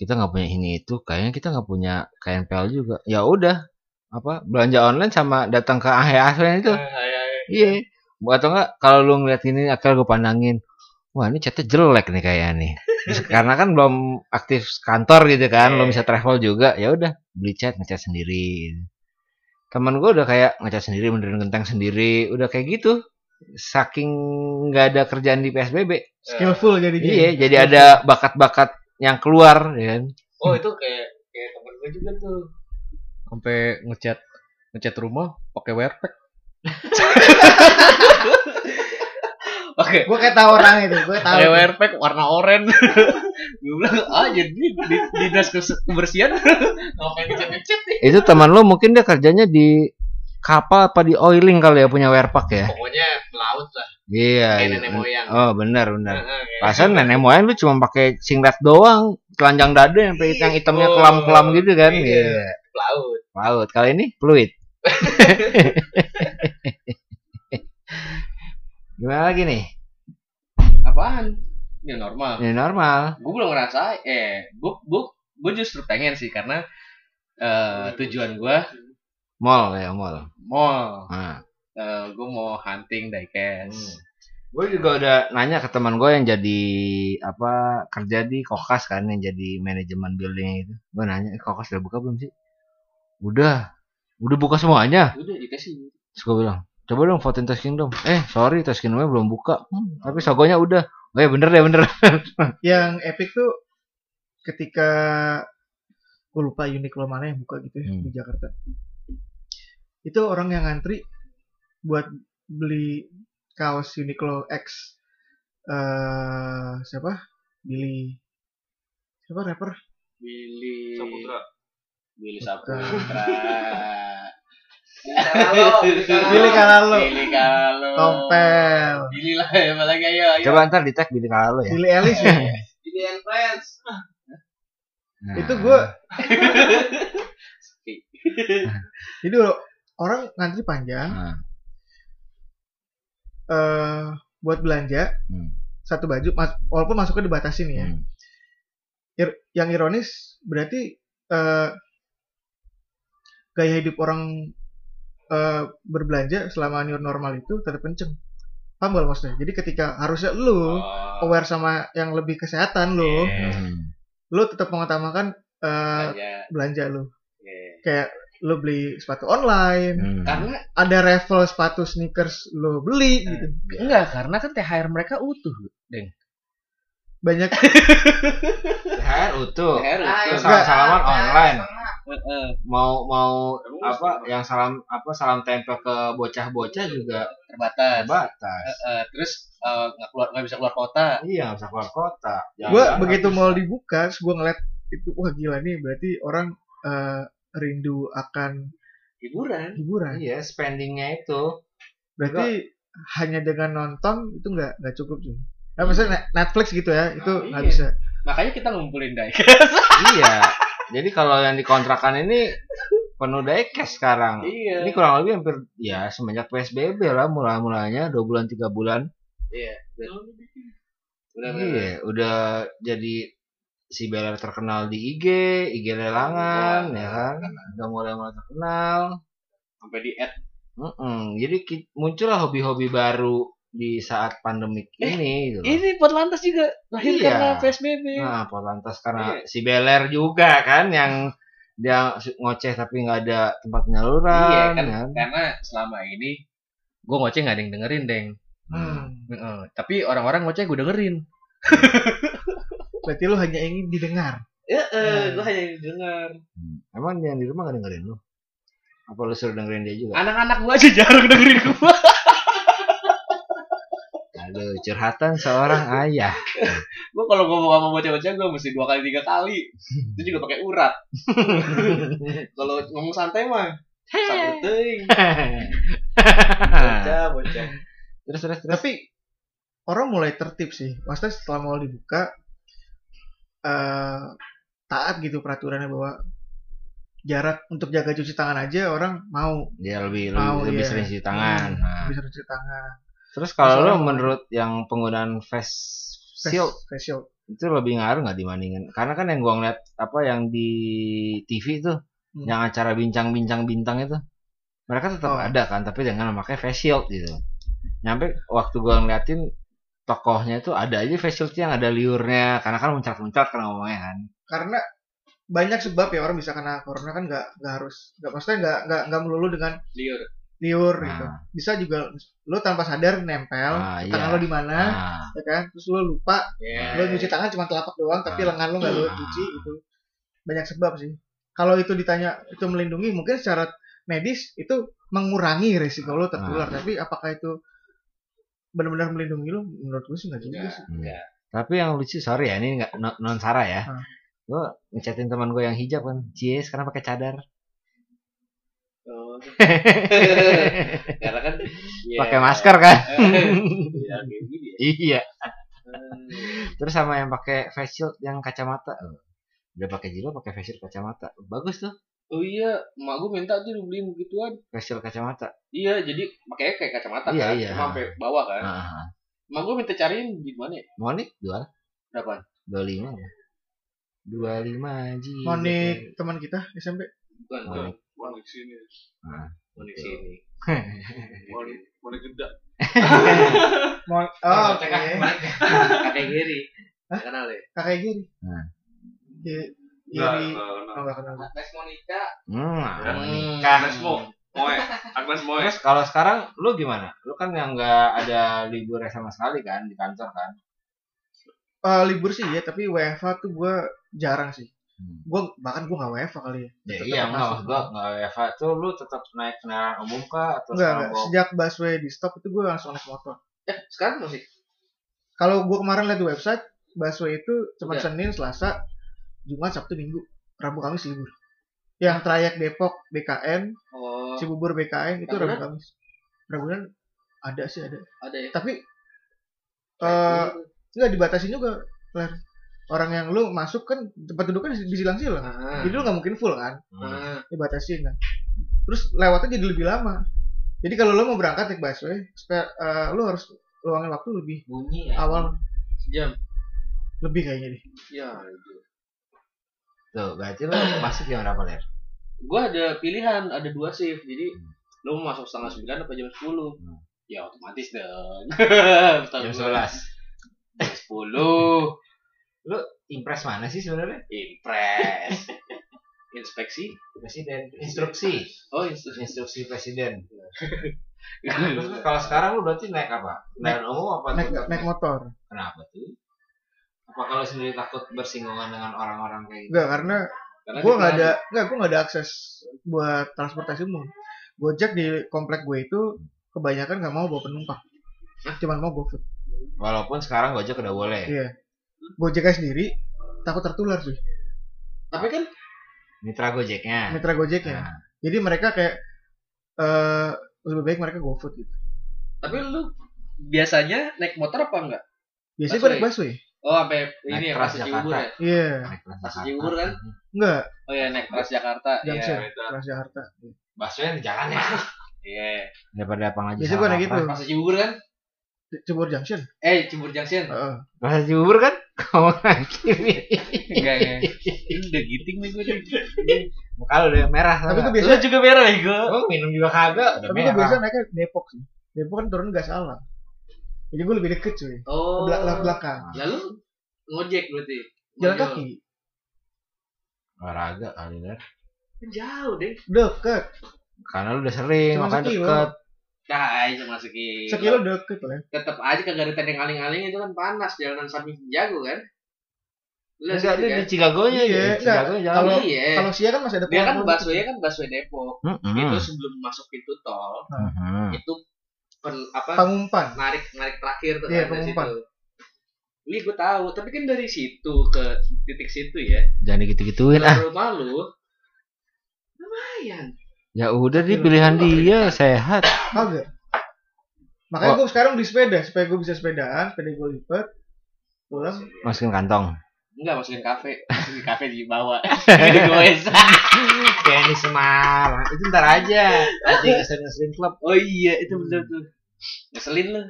Speaker 2: kita nggak punya ini itu, kayaknya kita nggak punya KNPL juga. Ya udah, apa belanja online sama datang ke E ahe aslinya itu. Ah, Iya. Atau enggak kalau lu ngeliat ini akhirnya gue pandangin. Wah ini chatnya jelek nih kayaknya nih. Terus Karena kan belum aktif kantor gitu kan, belum bisa travel juga. Ya udah beli chat ngecat sendiri. Teman gue udah kayak ngecat sendiri, benerin genteng sendiri, udah kayak gitu. Saking nggak ada kerjaan di PSBB.
Speaker 1: skillful jadi
Speaker 2: Iya, jadi ada bakat-bakat yang keluar, ya kan?
Speaker 3: oh itu kayak kayak temen gue juga tuh
Speaker 5: sampai ngecat ngecat rumah pakai werpack oke
Speaker 1: gue kayak tahu orang itu gue tahu
Speaker 5: pakai werpack warna oranye gue bilang ah jadi di, di dinas kes- kebersihan ngapain ngecat ngecat nih
Speaker 2: Itu teman lo mungkin dia kerjanya di kapal apa di oiling kali ya punya werpak ya?
Speaker 5: pokoknya laut lah
Speaker 2: Iya.
Speaker 5: kayak
Speaker 2: iya.
Speaker 5: nenek moyang Iya.
Speaker 2: Oh benar benar.
Speaker 5: Heeh, kayak-
Speaker 2: Pasan nenek moyang lu cuma pakai singlet doang, telanjang dada yang pe- yang hitamnya kelam-kelam gitu kan.
Speaker 5: Iya.
Speaker 2: Iya.
Speaker 5: laut
Speaker 2: Laut. Kali ini fluid. Gimana lagi nih?
Speaker 5: apaan ya normal
Speaker 2: Ini normal.
Speaker 5: gue belum ngerasa eh gue gue gue justru pengen sih karena eh, tujuan gue
Speaker 2: Mall ya mall.
Speaker 5: mall
Speaker 2: Nah.
Speaker 5: Eh, gue mau hunting diecast
Speaker 2: Gue Hmm. juga udah nanya ke teman gue yang jadi apa kerja di Kokas kan yang jadi manajemen building itu. Gue nanya, "Eh, Kokas udah buka belum sih? Udah. Udah buka semuanya.
Speaker 5: udah dikasih
Speaker 2: Terus gue bilang, coba dong votein Test Kingdom. Eh, sorry Test Kingdomnya belum buka. Hmm, tapi sogonya udah. Oh ya bener deh, bener.
Speaker 1: yang epic tuh ketika gue lupa Uniqlo mana yang buka gitu ya
Speaker 2: Hmm.
Speaker 1: di Jakarta itu orang yang ngantri buat beli kaos Uniqlo X eh siapa Billy siapa rapper
Speaker 5: Billy
Speaker 4: Saputra.
Speaker 5: Billy
Speaker 1: Bukan.
Speaker 5: Saputra
Speaker 1: Billy Kalalo
Speaker 5: Billy Kalalo
Speaker 1: Tompel
Speaker 5: Billy lah apa lagi ya, ayo ayo
Speaker 2: Coba ntar di tag di kalau ya.
Speaker 1: Billy Ellis ya
Speaker 3: Billy and Friends
Speaker 2: Nah,
Speaker 1: itu gue jadi orang ngantri panjang
Speaker 2: nah,
Speaker 1: eh buat belanja
Speaker 2: hmm,
Speaker 1: satu baju mas- walaupun masuknya dibatasi nih ya
Speaker 2: hmm.
Speaker 1: Ir- yang ironis berarti eh, gaya hidup orang eh, berbelanja selama new normal itu tetap kenceng paham gak lo maksudnya jadi ketika harusnya lu
Speaker 5: Oh,
Speaker 1: aware sama yang lebih kesehatan lu
Speaker 2: hmm,
Speaker 1: lu tetap mengutamakan eh,
Speaker 5: aja.
Speaker 1: belanja lu
Speaker 5: Oke.
Speaker 1: kayak lu beli sepatu online
Speaker 2: Hmm.
Speaker 5: karena
Speaker 1: ada raffle sepatu sneakers lu beli gitu
Speaker 5: Hmm. enggak karena kan THR mereka utuh Deng.
Speaker 1: banyak
Speaker 2: THR utuh.
Speaker 5: THR
Speaker 2: Terus
Speaker 5: utuh
Speaker 1: enggak.
Speaker 2: salam-salaman online.
Speaker 5: Heeh.
Speaker 2: Mau mau
Speaker 4: Emang
Speaker 2: apa yang salam apa salam tempel ke bocah-bocah juga
Speaker 5: terbatas
Speaker 2: terbatas.
Speaker 5: Heeh, terus eh, nggak keluar nggak bisa keluar kota
Speaker 2: Iya, nggak bisa keluar kota.
Speaker 1: gue
Speaker 2: Jalan-jalan
Speaker 1: begitu
Speaker 2: nggak
Speaker 1: mau
Speaker 2: bisa.
Speaker 1: dibuka terus gue ngeliat itu wah gila nih berarti orang eh, rindu akan
Speaker 5: hiburan
Speaker 1: hiburan
Speaker 2: Iya, spendingnya itu.
Speaker 1: berarti hanya dengan nonton itu nggak nggak cukup sih Nah, maksudnya Net- Netflix gitu ya itu
Speaker 5: Iya. Ah,
Speaker 1: nggak
Speaker 5: iya.
Speaker 1: bisa
Speaker 5: makanya kita ngumpulin dai
Speaker 2: iya. Jadi kalau yang dikontrakan ini penuh diecast sekarang. Ah.
Speaker 5: iya
Speaker 2: Ini kurang lebih hampir ya semenjak PSBB lah mulai mulanya dua bulan tiga bulan. Iya, udah jadi si Beller terkenal di IG, IG lelangan, ya kan? Udah mulai mulai terkenal.
Speaker 5: sampai di add
Speaker 2: Mm-mm. Jadi ki- muncullah hobi-hobi baru di saat pandemik ini. gitu loh.
Speaker 5: ini buat lantas juga lahir
Speaker 2: Iya.
Speaker 5: karena psbb
Speaker 2: Nah, Polantas karena si Beller juga kan yang dia su- ngoceh tapi nggak ada tempat penyaluran.
Speaker 5: iya kan
Speaker 2: kan?
Speaker 5: karena selama ini gue ngoceh nggak ada yang dengerin deng
Speaker 1: hmm.
Speaker 5: Heeh, tapi orang-orang ngoceh gue dengerin
Speaker 1: Berarti lu hanya ingin didengar.
Speaker 3: Ya, eh, gue hanya dengar.
Speaker 2: Hmm. Emang yang di rumah gak dengerin lu? Apa lu suruh dengerin dia juga?
Speaker 5: Anak-anak gua aja jarang dengerin gua.
Speaker 2: Lalu curhatan seorang ayah.
Speaker 5: Gua kalau ngomong sama bocah-bocah gua mesti dua kali tiga kali. Itu juga pakai urat. kalau ngomong santai mah santai teuing.
Speaker 3: Bocah, bocah.
Speaker 2: terus terus terus.
Speaker 1: Tapi orang mulai tertib sih. Maksudnya setelah mall dibuka eh taat gitu peraturannya bahwa jarak untuk jaga cuci tangan aja orang mau
Speaker 2: Dia lebih
Speaker 1: Mau,
Speaker 2: lebih, lebih
Speaker 1: iya.
Speaker 2: sering cuci tangan.
Speaker 5: Ah.
Speaker 2: Nah.
Speaker 1: bisa cuci tangan.
Speaker 2: Terus kalau lu
Speaker 1: Masalah-
Speaker 2: menurut yang penggunaan face shield
Speaker 1: Face- face shield.
Speaker 2: itu lebih ngaruh nggak dibandingin? Karena kan yang gua ngeliat apa yang di TV itu,
Speaker 1: Hmm.
Speaker 2: yang acara bincang-bincang bintang itu, mereka tetap
Speaker 1: Oh.
Speaker 2: ada kan, tapi dengan memakai face shield gitu. Nyampe waktu gua ngeliatin tokohnya itu ada aja face shieldnya yang ada liurnya, karena kan muncat-muncat karena ngomongnya kan.
Speaker 1: karena banyak sebab ya orang bisa kena corona kan nggak nggak harus nggak maksudnya nggak nggak nggak melulu dengan
Speaker 5: Iya,
Speaker 3: Liur.
Speaker 1: liur
Speaker 2: Nah.
Speaker 1: gitu bisa juga lo tanpa sadar nempel
Speaker 2: Ah,
Speaker 1: tangan
Speaker 2: iya.
Speaker 1: lo di Iya. mana
Speaker 2: Nah,
Speaker 1: ya kan terus lo lupa lo
Speaker 3: Ya.
Speaker 1: cuci tangan cuma telapak doang tapi
Speaker 2: Ah.
Speaker 1: lengan lo nggak lo
Speaker 2: Ah.
Speaker 1: cuci gitu banyak sebab sih kalau itu ditanya itu melindungi mungkin secara medis itu mengurangi resiko lo tertular
Speaker 2: Ah.
Speaker 1: tapi apakah itu benar-benar melindungi lo menurut gue sih nggak
Speaker 2: Iya,
Speaker 1: juga
Speaker 3: Nggak.
Speaker 1: sih
Speaker 2: Enggak. Tapi yang lucu sorry ya ini nggak non, non sara ya.
Speaker 1: Hmm.
Speaker 2: Gue ngechatin teman gue yang hijab kan, cie sekarang pakai cadar,
Speaker 3: Oh.
Speaker 1: Iya.
Speaker 3: Karena kan
Speaker 5: iya.
Speaker 3: ya,
Speaker 2: pakai masker kan.
Speaker 3: Ya, kayak gini ya.
Speaker 2: iya. Terus sama yang pakai face shield yang kacamata. Udah Hmm. pakai jilbab, pakai face shield kacamata. Bagus tuh
Speaker 5: Oh iya, emak gua minta tuh dibeliin begituan.
Speaker 2: face shield kacamata.
Speaker 5: Iya, jadi makanya kayak kacamata
Speaker 2: Iya,
Speaker 5: kan,
Speaker 2: iya.
Speaker 5: cuma sampai bawah kan.
Speaker 2: Heeh.
Speaker 5: Emak gua minta cariin di mana ya?
Speaker 2: Monik jual
Speaker 5: Berapa?
Speaker 2: 25. 25 ji. iya.
Speaker 1: Monik teman kita SMP
Speaker 3: Bukan, bukan.
Speaker 2: Monik.
Speaker 4: Monik sini.
Speaker 3: Di sini.
Speaker 4: Monik, Monik gede.
Speaker 1: Mon oh, oke
Speaker 3: Kakek Giri. Kenal ya?
Speaker 1: kakek Giri.
Speaker 2: Nah.
Speaker 1: Gi-
Speaker 4: Enggak,
Speaker 1: Giri.
Speaker 4: enggak, enggak.
Speaker 1: Oh, nggak kenal.
Speaker 3: Agnes Monica.
Speaker 2: Hmm, Monik.
Speaker 4: Agnes Mo. Moe. Agnes Moe.
Speaker 2: Terus kalau sekarang lu gimana? Lu kan yang nggak ada liburnya sama sekali kan di kantor kan?
Speaker 1: Eh, libur sih ya, tapi WFH tuh gue jarang sih.
Speaker 2: Hmm.
Speaker 1: Gue bahkan gue nggak WFH kali ya.
Speaker 2: Ya,
Speaker 1: Tetep
Speaker 2: iya, enggak
Speaker 1: masuk.
Speaker 2: maksud gua enggak Eva tuh lu tetap naik kendaraan umum kah atau
Speaker 1: Enggak,
Speaker 2: sekarang
Speaker 1: enggak.
Speaker 2: bawa-
Speaker 1: Sejak busway di stop itu gue langsung naik motor.
Speaker 3: Eh, sekarang masih.
Speaker 1: Kalau gue kemarin lihat di website, busway itu cuma
Speaker 3: Udah.
Speaker 1: Senin, Selasa, Jumat, Sabtu, Minggu, Rabu, Kamis libur. Yang trayek Depok BKN,
Speaker 3: Oh,
Speaker 1: Cibubur BKN itu Rabu kan?
Speaker 3: Ragunan?
Speaker 1: Kamis. Ragunan ada sih ada.
Speaker 3: ada ya.
Speaker 1: Tapi eh nggak dibatasi juga Ler. orang yang lu masuk kan tempat duduknya di silang-silang
Speaker 3: Ah.
Speaker 1: jadi lu nggak mungkin full kan
Speaker 2: Hmm.
Speaker 3: Ah.
Speaker 1: dibatasin kan terus lewatnya jadi lebih lama jadi kalau lu mau berangkat naik busway supaya, eh, lu harus luangin waktu lebih
Speaker 3: Bunyi ya.
Speaker 1: awal
Speaker 3: Sejam.
Speaker 1: lebih kayaknya deh
Speaker 3: Ya, itu.
Speaker 2: Tuh, berarti lu masuk jam berapa, Ler?
Speaker 5: Gua ada pilihan, ada dua shift. Jadi lu mau masuk setengah sembilan apa jam sepuluh?
Speaker 2: Hmm.
Speaker 5: Ya otomatis dong.
Speaker 2: Jam
Speaker 5: Jam
Speaker 2: 11.
Speaker 5: Jam sepuluh.
Speaker 2: Impres mana sih sebenarnya?
Speaker 5: Impres. Inspeksi.
Speaker 2: Presiden. Instruksi.
Speaker 5: Oh inspeksi.
Speaker 2: Instruksi presiden. Terus kalau sekarang lu berarti naik apa? Kendaraan umum apa
Speaker 1: naik
Speaker 2: tetap
Speaker 1: naik motor
Speaker 2: Kenapa tuh? Apa kalau sendiri takut bersinggungan dengan orang-orang kayak gitu?
Speaker 1: enggak karena gue nggak ada nggak gue nggak ada akses buat transportasi umum gojek di komplek gue itu kebanyakan nggak mau bawa penumpang cuman mau GoFood
Speaker 2: Walaupun sekarang Gojek udah boleh.
Speaker 1: Iya. Gojeknya sendiri takut tertular sih
Speaker 5: Tapi kan
Speaker 2: Mitra Gojeknya.
Speaker 1: mitra ya? Gojeknya.
Speaker 2: Nah,
Speaker 1: Jadi mereka kayak eh lebih baik mereka GoFood gitu.
Speaker 5: tapi lu biasanya naik motor apa enggak?
Speaker 1: Biasanya gue naik
Speaker 5: Busway.
Speaker 1: busway.
Speaker 5: Oh sampai
Speaker 2: Naik
Speaker 5: ini ya
Speaker 2: Trans
Speaker 5: Trans Cibubur
Speaker 2: Jakarta.
Speaker 5: ya?
Speaker 1: Iya,
Speaker 2: Nah, naik
Speaker 5: Masih
Speaker 2: Transjakarta.
Speaker 5: Cibubur kan?
Speaker 1: enggak
Speaker 5: Oh ya naik Transjakarta. Iya.
Speaker 1: Junction,
Speaker 4: beda.
Speaker 1: Transjakarta.
Speaker 2: Busway di jalan ya.
Speaker 5: Iya.
Speaker 2: Daripada apa aja.
Speaker 1: Biasanya gue naik gitu. itu,
Speaker 5: Masih Cibubur kan?
Speaker 1: Cibubur Junction.
Speaker 5: Eh Cibubur Junction.
Speaker 1: Heeh.
Speaker 2: Bahasa Cibubur kan? Ngomong kiri.
Speaker 5: Enggak enggak. Ini udah giting nih gue.
Speaker 2: Muka lu udah merah.
Speaker 1: Tapi gue
Speaker 5: Lu
Speaker 1: biasa
Speaker 5: juga merah ya gue.
Speaker 2: Lu minum juga kagak.
Speaker 5: nah,
Speaker 2: Udah
Speaker 1: tapi gue
Speaker 2: merah.
Speaker 1: biasa naiknya Depok sih. Depok kan turun gak salah. Jadi gue lebih deket cuy. Ke
Speaker 5: Oh. Iya.
Speaker 1: belak- belakang.
Speaker 5: Lalu ngojek berarti.
Speaker 1: Jalan
Speaker 5: Ngojol.
Speaker 1: kaki.
Speaker 2: Olahraga kali kan.
Speaker 5: Kan Jauh deh.
Speaker 1: Deket.
Speaker 2: Karena lu udah sering,
Speaker 1: Cuma
Speaker 2: makanya
Speaker 1: sekilo.
Speaker 2: deket.
Speaker 5: Dah aja masukin.
Speaker 1: Sekilo deket lah.
Speaker 5: Tetap aja kagak ada tanding aling-aling itu kan panas jalanan samping jago kan. Lu
Speaker 2: Enggak,
Speaker 5: sih,
Speaker 2: dia di
Speaker 5: kan?
Speaker 2: Chicago nya
Speaker 1: Iya,
Speaker 2: ya. Chicago
Speaker 1: enggak.
Speaker 2: jalan.
Speaker 1: Kalau-
Speaker 5: iya.
Speaker 1: Kalau Sia kan masih ada
Speaker 5: Dia kan
Speaker 1: pohon-pohon
Speaker 5: busway
Speaker 1: gitu.
Speaker 5: kan busway Depok.
Speaker 2: Mm-mm.
Speaker 5: Itu sebelum masuk pintu tol
Speaker 2: Mm-mm.
Speaker 5: itu pen- apa
Speaker 1: Pengumpan.
Speaker 5: narik narik terakhir tuh
Speaker 1: Iya,
Speaker 5: kan, dari
Speaker 1: pengumpan.
Speaker 5: situ. Ini gue tahu, tapi kan dari situ ke titik situ ya.
Speaker 2: Jangan digitu-gituin ah.
Speaker 5: Dari rumah lu lumayan.
Speaker 2: Ya udah di pilihan dia sehat.
Speaker 1: Kagak.
Speaker 5: Oh.
Speaker 1: Makanya gue sekarang beli sepeda supaya gue bisa sepedaan, sepeda gue lipat, pulang.
Speaker 2: Masukin kantong.
Speaker 5: Enggak masukin kafe, masukin kafe dibawa. Digoes.
Speaker 2: Kayak di Semarang. Itu ntar aja. Aja ngeselin-ngeselin klub.
Speaker 5: oh iya, itu bener tuh. Ngeselin lu.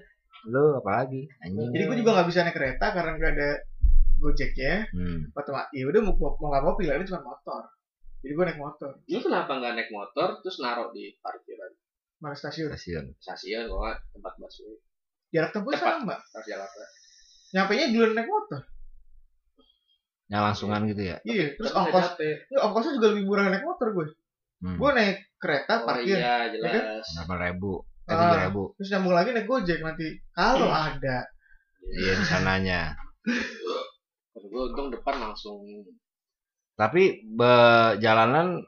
Speaker 2: Lu apalagi? Anjing.
Speaker 1: Jadi gue juga nggak bisa naik kereta karena nggak ada gojeknya.
Speaker 2: Hmm.
Speaker 1: Otomatis, ya udah mau mau nggak mau pilihannya cuma motor. Jadi gue naik motor,
Speaker 5: Lu kenapa nggak naik motor terus naruh di parkiran
Speaker 1: mana stasiun.
Speaker 2: Stasiun.
Speaker 5: stasiun kalau nggak tempat busway
Speaker 1: Jarak tempuh
Speaker 5: Cepat.
Speaker 1: sama.
Speaker 5: terus jalan apa?
Speaker 1: Nyampe nya duluan naik motor.
Speaker 2: Yang langsungan gitu ya.
Speaker 1: Iya, terus
Speaker 5: Tapi nggak
Speaker 1: ongkos,
Speaker 5: kan capek.
Speaker 1: ya, ongkosnya juga lebih murah naik motor gue.
Speaker 2: Hmm.
Speaker 1: Gue naik kereta,
Speaker 5: Oh
Speaker 1: parkir,
Speaker 5: iya jelas.
Speaker 2: 8.000. Eh
Speaker 1: Ah.
Speaker 2: 7.000.
Speaker 1: terus nyambung lagi naik gojek nanti. Kalau ada,
Speaker 2: Iya di sananya.
Speaker 5: Terus gue untung depan langsung
Speaker 2: Tapi be- jalanan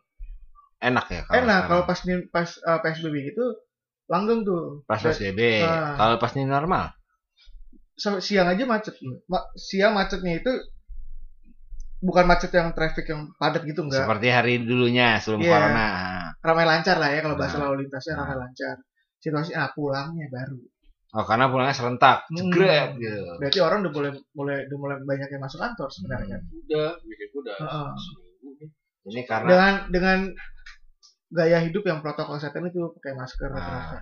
Speaker 2: enak ya kalau
Speaker 1: enak.
Speaker 2: sekarang?
Speaker 1: Kalau pas nin- pas eh, PSBB gitu, langgeng tuh.
Speaker 2: pas PSBB.
Speaker 1: Ah.
Speaker 2: Kalau pas ini normal.
Speaker 1: Sampai siang aja macet. Ma- siang macetnya itu bukan macet yang traffic yang padat gitu enggak.
Speaker 2: Seperti hari dulunya sebelum
Speaker 1: Iya.
Speaker 2: corona. Ah.
Speaker 1: Ramai lancar lah ya kalau bahasa
Speaker 2: Nah.
Speaker 1: lalu lintasnya ramai lancar. Situasi ah pulangnya baru.
Speaker 2: Oh, karena pulangnya serentak.
Speaker 1: Hmm.
Speaker 2: Jegret gitu.
Speaker 1: Berarti orang udah mulai mulai udah mulai banyak yang masuk kantor sebenarnya.
Speaker 5: udah bikin gue
Speaker 4: Hmm.
Speaker 5: udah
Speaker 1: Heeh.
Speaker 5: seminggu nih.
Speaker 2: Ini karena
Speaker 1: Dengan dengan gaya hidup yang protokol kesehatan itu pakai masker ya.
Speaker 2: Nah.
Speaker 1: rata-rata.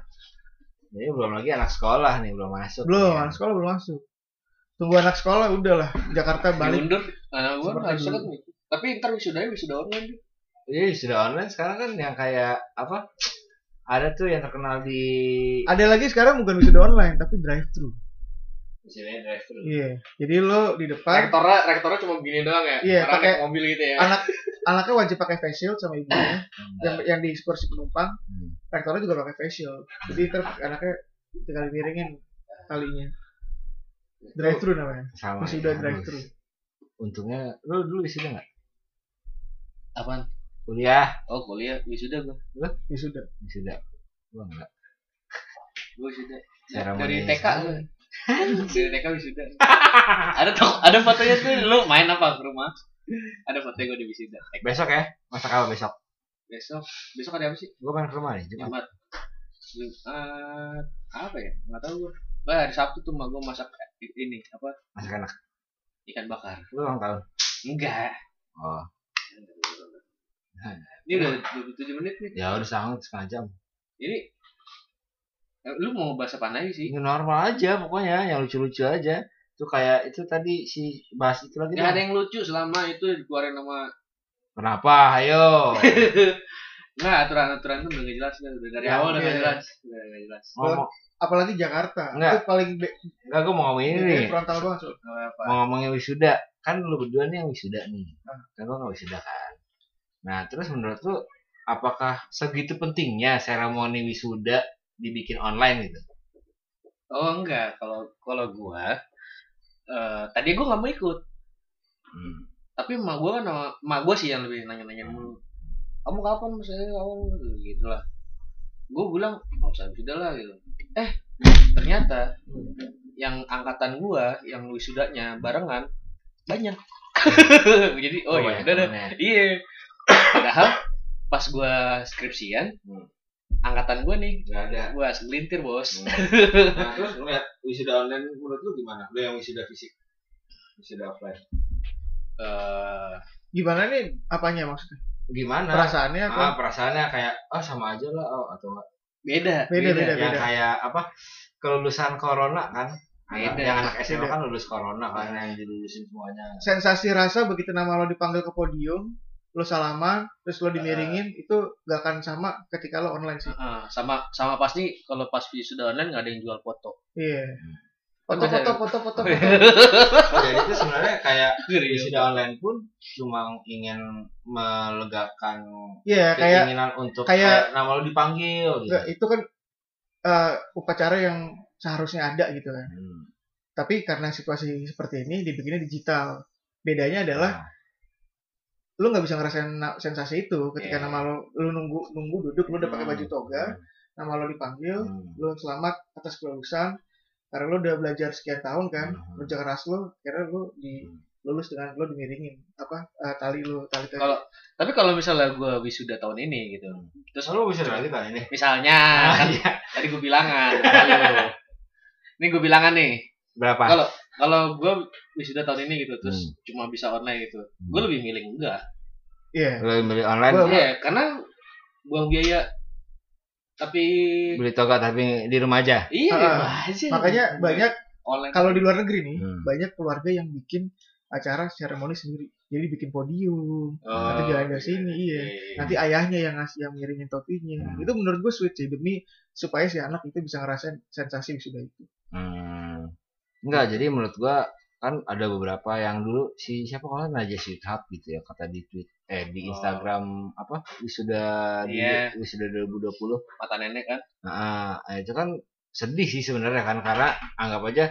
Speaker 2: ini belum lagi anak sekolah nih belum masuk.
Speaker 1: Belum,
Speaker 2: nih. ya.
Speaker 1: anak sekolah belum masuk. Tunggu anak sekolah udahlah Jakarta balik.
Speaker 5: diundur anak gue
Speaker 1: Seperti
Speaker 5: harusnya kan
Speaker 1: dulu.
Speaker 5: tapi ntar wisudanya wisuda online deh
Speaker 2: Jadi Iya, sudah online sekarang kan yang kayak apa? Ada tuh yang terkenal di
Speaker 1: Ada lagi sekarang bukan wisuda online tapi drive thru.
Speaker 2: misalnya drive thru.
Speaker 1: Iya. Jadi lo di depan
Speaker 5: rektornya rektornya cuma begini doang ya
Speaker 1: Iya,
Speaker 5: Karena
Speaker 1: pakai-
Speaker 5: naik mobil gitu ya
Speaker 1: anak anaknya wajib pakai face shield sama ibunya yang yang di kursi penumpang
Speaker 2: Hmm.
Speaker 1: rektornya juga pakai face shield jadi terus anaknya tinggal miringin talinya drive thru namanya
Speaker 2: Sama.
Speaker 1: masih udah
Speaker 2: ya,
Speaker 1: drive
Speaker 2: harus.
Speaker 1: thru
Speaker 2: Untungnya lu dulu wisuda enggak?
Speaker 5: apaan
Speaker 2: Kuliah
Speaker 5: oh kuliah wisuda gue
Speaker 1: ya sudah
Speaker 2: wisuda. Gua enggak.
Speaker 5: gue wisuda
Speaker 2: Seremoni
Speaker 5: dari TK
Speaker 2: wisuda.
Speaker 5: gue dari TK wisuda ada tuh ada fotonya tuh lu main apa ke rumah ada fotonya gue di wisuda TK.
Speaker 2: Besok ya? Masak apa besok?
Speaker 5: besok besok ada apa sih
Speaker 2: Gua main ke rumah nih. Jumat.
Speaker 5: Jumat Jumat apa ya nggak tahu gue Bah, hari Sabtu tuh mah gue masak ini apa
Speaker 2: Masak enak.
Speaker 5: ikan bakar
Speaker 2: Lu ulang tahun.
Speaker 5: enggak
Speaker 2: Oh.
Speaker 5: ini udah 27 menit nih
Speaker 2: Ya udah sama setengah jam.
Speaker 5: Jadi eh, lu mau bahas apa lagi sih?
Speaker 2: Ini Ya, normal aja pokoknya yang lucu-lucu aja. Itu kayak itu tadi si bahas itu lagi.
Speaker 5: Gak ada
Speaker 2: dong.
Speaker 5: yang lucu selama itu dikeluarin sama
Speaker 2: Kenapa? Ayo.
Speaker 5: Nggak, aturan-aturan itu udah gak jelas kan? Udah dari
Speaker 1: Ya,
Speaker 5: awal udah
Speaker 1: iya.
Speaker 5: gak jelas Udah gak jelas
Speaker 2: Ngomong.
Speaker 1: apalagi Jakarta
Speaker 2: Enggak.
Speaker 1: itu paling be-
Speaker 2: Enggak gua mau ngomongin ini.
Speaker 1: ini
Speaker 2: nih.
Speaker 1: frontal banget so.
Speaker 5: Gak apa-apa
Speaker 2: Mau ngomongin wisuda. Kan lu berdua nih yang wisuda nih.
Speaker 5: Ah.
Speaker 2: Kan gua enggak wisuda kan. Nah, terus menurut lu apakah segitu pentingnya seremoni wisuda dibikin online gitu?
Speaker 5: Oh enggak, kalau kalau gua eh Tadi gua gak mau ikut
Speaker 2: Hmm.
Speaker 5: Tapi emak gua kan, sama- emak gua sih yang lebih nanya-nanya dulu Kamu kapan misalnya kamu gitu lah Gua bilang, mau usah wisuda lah gitu Eh, ternyata yang angkatan gua, yang wisudanya barengan banyak jadi oh, ya
Speaker 2: banyak
Speaker 5: udah dah.
Speaker 2: temennya.
Speaker 5: Iya. Padahal pas gua skripsian,
Speaker 2: Hmm.
Speaker 5: angkatan gua nih,
Speaker 2: Enggak ada.
Speaker 5: gua segelintir bos.
Speaker 2: Nah, terus lu lihat wisuda online menurut lu gimana? Lu yang wisuda fisik, wisuda offline.
Speaker 5: Eh,
Speaker 1: gimana nih apanya maksudnya
Speaker 2: Gimana?
Speaker 1: perasaannya apa
Speaker 2: Ah, perasaannya kayak oh sama aja lah oh atau enggak.
Speaker 5: beda. ya.
Speaker 1: beda beda
Speaker 2: yang
Speaker 1: Iya, beda Ah,
Speaker 2: kayak apa? Kelulusan corona kan. Anak-
Speaker 5: Beda.
Speaker 2: Yang anak SMA
Speaker 1: iya, Beda. Iya.
Speaker 2: kan lulus corona kan yang dilulusin semuanya.
Speaker 1: sensasi rasa begitu nama lo dipanggil ke podium lo salaman terus lo dimiringin
Speaker 2: Eh.
Speaker 1: itu gak akan sama ketika lo online sih
Speaker 5: Heeh, sama sama pasti kalau pas sudah online nggak ada yang jual foto.
Speaker 1: iya
Speaker 2: Hmm.
Speaker 1: foto foto foto foto foto.
Speaker 2: Oh, Jadi itu sebenarnya kayak
Speaker 5: Serius.
Speaker 2: wisuda online pun cuma ingin melegakan
Speaker 1: iya kayak
Speaker 2: keinginan untuk
Speaker 1: kayak- Iya.
Speaker 2: kayak nama lu dipanggil gitu.
Speaker 1: Enggak, itu kan eh, upacara yang seharusnya ada gitu kan.
Speaker 2: Hmm.
Speaker 1: Tapi karena situasi seperti ini dibikinnya digital. Bedanya adalah lu nggak bisa ngerasain na- sensasi itu ketika
Speaker 2: Hmm. Iya.
Speaker 1: nama lo lu nunggu nunggu duduk lu udah pakai
Speaker 2: Hmm.
Speaker 1: baju toga nama lo dipanggil
Speaker 2: Hmm.
Speaker 1: lu selamat atas kelulusan karena lu udah belajar sekian tahun kan
Speaker 2: Hmm.
Speaker 1: kerja keras lu akhirnya lu di lulus dengan lu dimiringin apa eh, tali lu tali tali
Speaker 5: Kalau- tapi kalau misalnya gue wisuda tahun ini gitu terus
Speaker 2: Terus lu bisa dilanjutan ini.
Speaker 5: misalnya
Speaker 1: Ah,
Speaker 5: kan
Speaker 1: iya.
Speaker 5: tadi gue bilangan ini gue bilangan nih
Speaker 2: Berapa?
Speaker 1: Ah.
Speaker 5: Kalau- kalau gue wisuda tahun ini gitu terus
Speaker 2: Hmm.
Speaker 5: cuma bisa online gitu gue lebih milih enggak
Speaker 1: iya
Speaker 2: Lu beli online,
Speaker 1: Gua-
Speaker 5: Iya, karena buang biaya tapi
Speaker 2: beli toga tapi di rumah aja.
Speaker 5: iya
Speaker 1: Ah,
Speaker 5: wah, sih.
Speaker 1: makanya banyak
Speaker 5: online
Speaker 1: kalau di luar negeri nih
Speaker 2: Hmm.
Speaker 1: banyak keluarga yang bikin acara seremoni sendiri jadi bikin podium
Speaker 5: Oh,
Speaker 1: nanti jalan dari sini iya nanti ayahnya yang ngasih yang miringin topinya
Speaker 2: Hmm.
Speaker 1: itu menurut gue sweet sih demi supaya si anak itu bisa ngerasain sensasi wisuda itu
Speaker 2: Hmm. Enggak, jadi menurut gua kan ada beberapa yang dulu si siapa kalau nggak, Najwa Shihab gitu ya kata di tweet eh di
Speaker 5: Oh.
Speaker 2: Instagram apa wisuda di
Speaker 5: Iya.
Speaker 2: wisuda 2020
Speaker 5: mata nenek kan
Speaker 2: Nah, eh, itu kan sedih sih sebenarnya kan karena anggap aja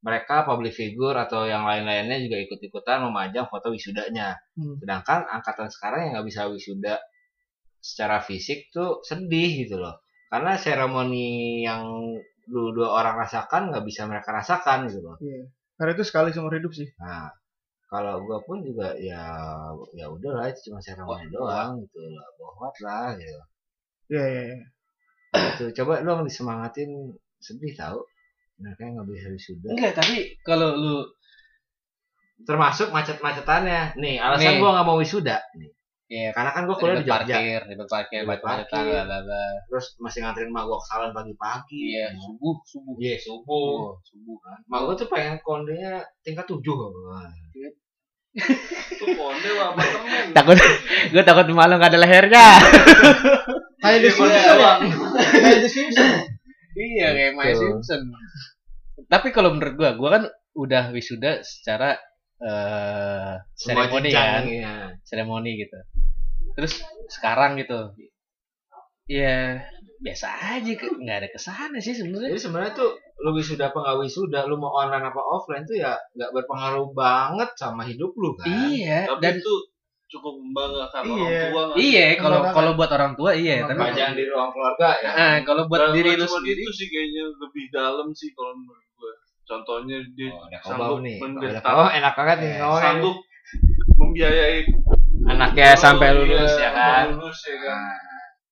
Speaker 2: mereka public figure atau yang lain-lainnya juga ikut-ikutan memajang foto wisudanya.
Speaker 1: Hmm.
Speaker 2: Sedangkan angkatan sekarang yang nggak bisa wisuda secara fisik tuh sedih gitu loh. Karena seremoni yang dulu dua orang rasakan nggak bisa mereka rasakan gitu loh.
Speaker 1: karena itu sekali seumur hidup sih
Speaker 2: Nah, kalau gua pun juga ya ya udahlah itu cuma seremoni doang gitu loh. Bohwat lah gitu.
Speaker 1: iya iya iya.
Speaker 2: Gitu. Coba dong disemangatin sedih tahu. Mereka nggak bisa wisuda.
Speaker 5: enggak tapi kalau lu
Speaker 2: termasuk macet-macetannya. Nih, alasan
Speaker 5: Nih.
Speaker 2: gua nggak mau wisuda. Nih.
Speaker 5: Iya.
Speaker 2: Karena kan gua kuliah di
Speaker 5: ribet
Speaker 2: Jogja,
Speaker 5: parkir ribet parkir
Speaker 2: Ribet
Speaker 5: macet
Speaker 2: parkir.
Speaker 5: tangga bla bla
Speaker 2: terus masih nganterin emak gua ke salon pagi-pagi.
Speaker 5: iya subuh subuh
Speaker 2: Iya, subuh.
Speaker 5: Oh, subuh kan
Speaker 2: Emak gua tuh pengen kondenya tingkat 7.
Speaker 4: Itu konde lah apartemen.
Speaker 5: takut gue takut malu gak ada lehernya
Speaker 1: kayak
Speaker 2: Iya,
Speaker 1: di sini
Speaker 4: doang.
Speaker 1: kayak di sini
Speaker 5: iya kayak My
Speaker 2: Betul.
Speaker 5: Simpson tapi kalau menurut gue gue kan udah wisuda secara eh seremoni kan
Speaker 2: Iya.
Speaker 5: seremoni gitu terus sekarang gitu ya biasa aja ke- nggak ada kesana sih
Speaker 2: Jadi
Speaker 5: sebenarnya
Speaker 2: sebenarnya tuh lu wisuda apa nggak wisuda, lu mau online apa offline tuh ya nggak berpengaruh banget sama hidup lu kan.
Speaker 5: iya
Speaker 4: Tapi
Speaker 5: dan
Speaker 4: itu cukup membanggakan
Speaker 1: Iya.
Speaker 4: orang tua. kan. nggak?
Speaker 5: iya kalau
Speaker 1: Memang-
Speaker 5: kalau buat orang tua iya tapi
Speaker 1: Memang-
Speaker 2: Pembacaan di ruang keluarga ya.
Speaker 5: Ah, kalau buat
Speaker 4: Kalau
Speaker 5: diri
Speaker 4: nggak
Speaker 5: lu
Speaker 4: cuma
Speaker 5: sendiri
Speaker 4: Itu sih kayaknya lebih dalam sih kalau menurut gue. Contohnya dia
Speaker 2: Oh, ada kau
Speaker 4: sanggup
Speaker 2: nih. Ada
Speaker 4: mendetak,
Speaker 2: kau enak banget nih
Speaker 4: eh,
Speaker 2: kau.
Speaker 4: sanggup membiayai
Speaker 2: Anaknya sampai
Speaker 4: Iya,
Speaker 2: lulus ya kan.
Speaker 4: Lulus ya kan.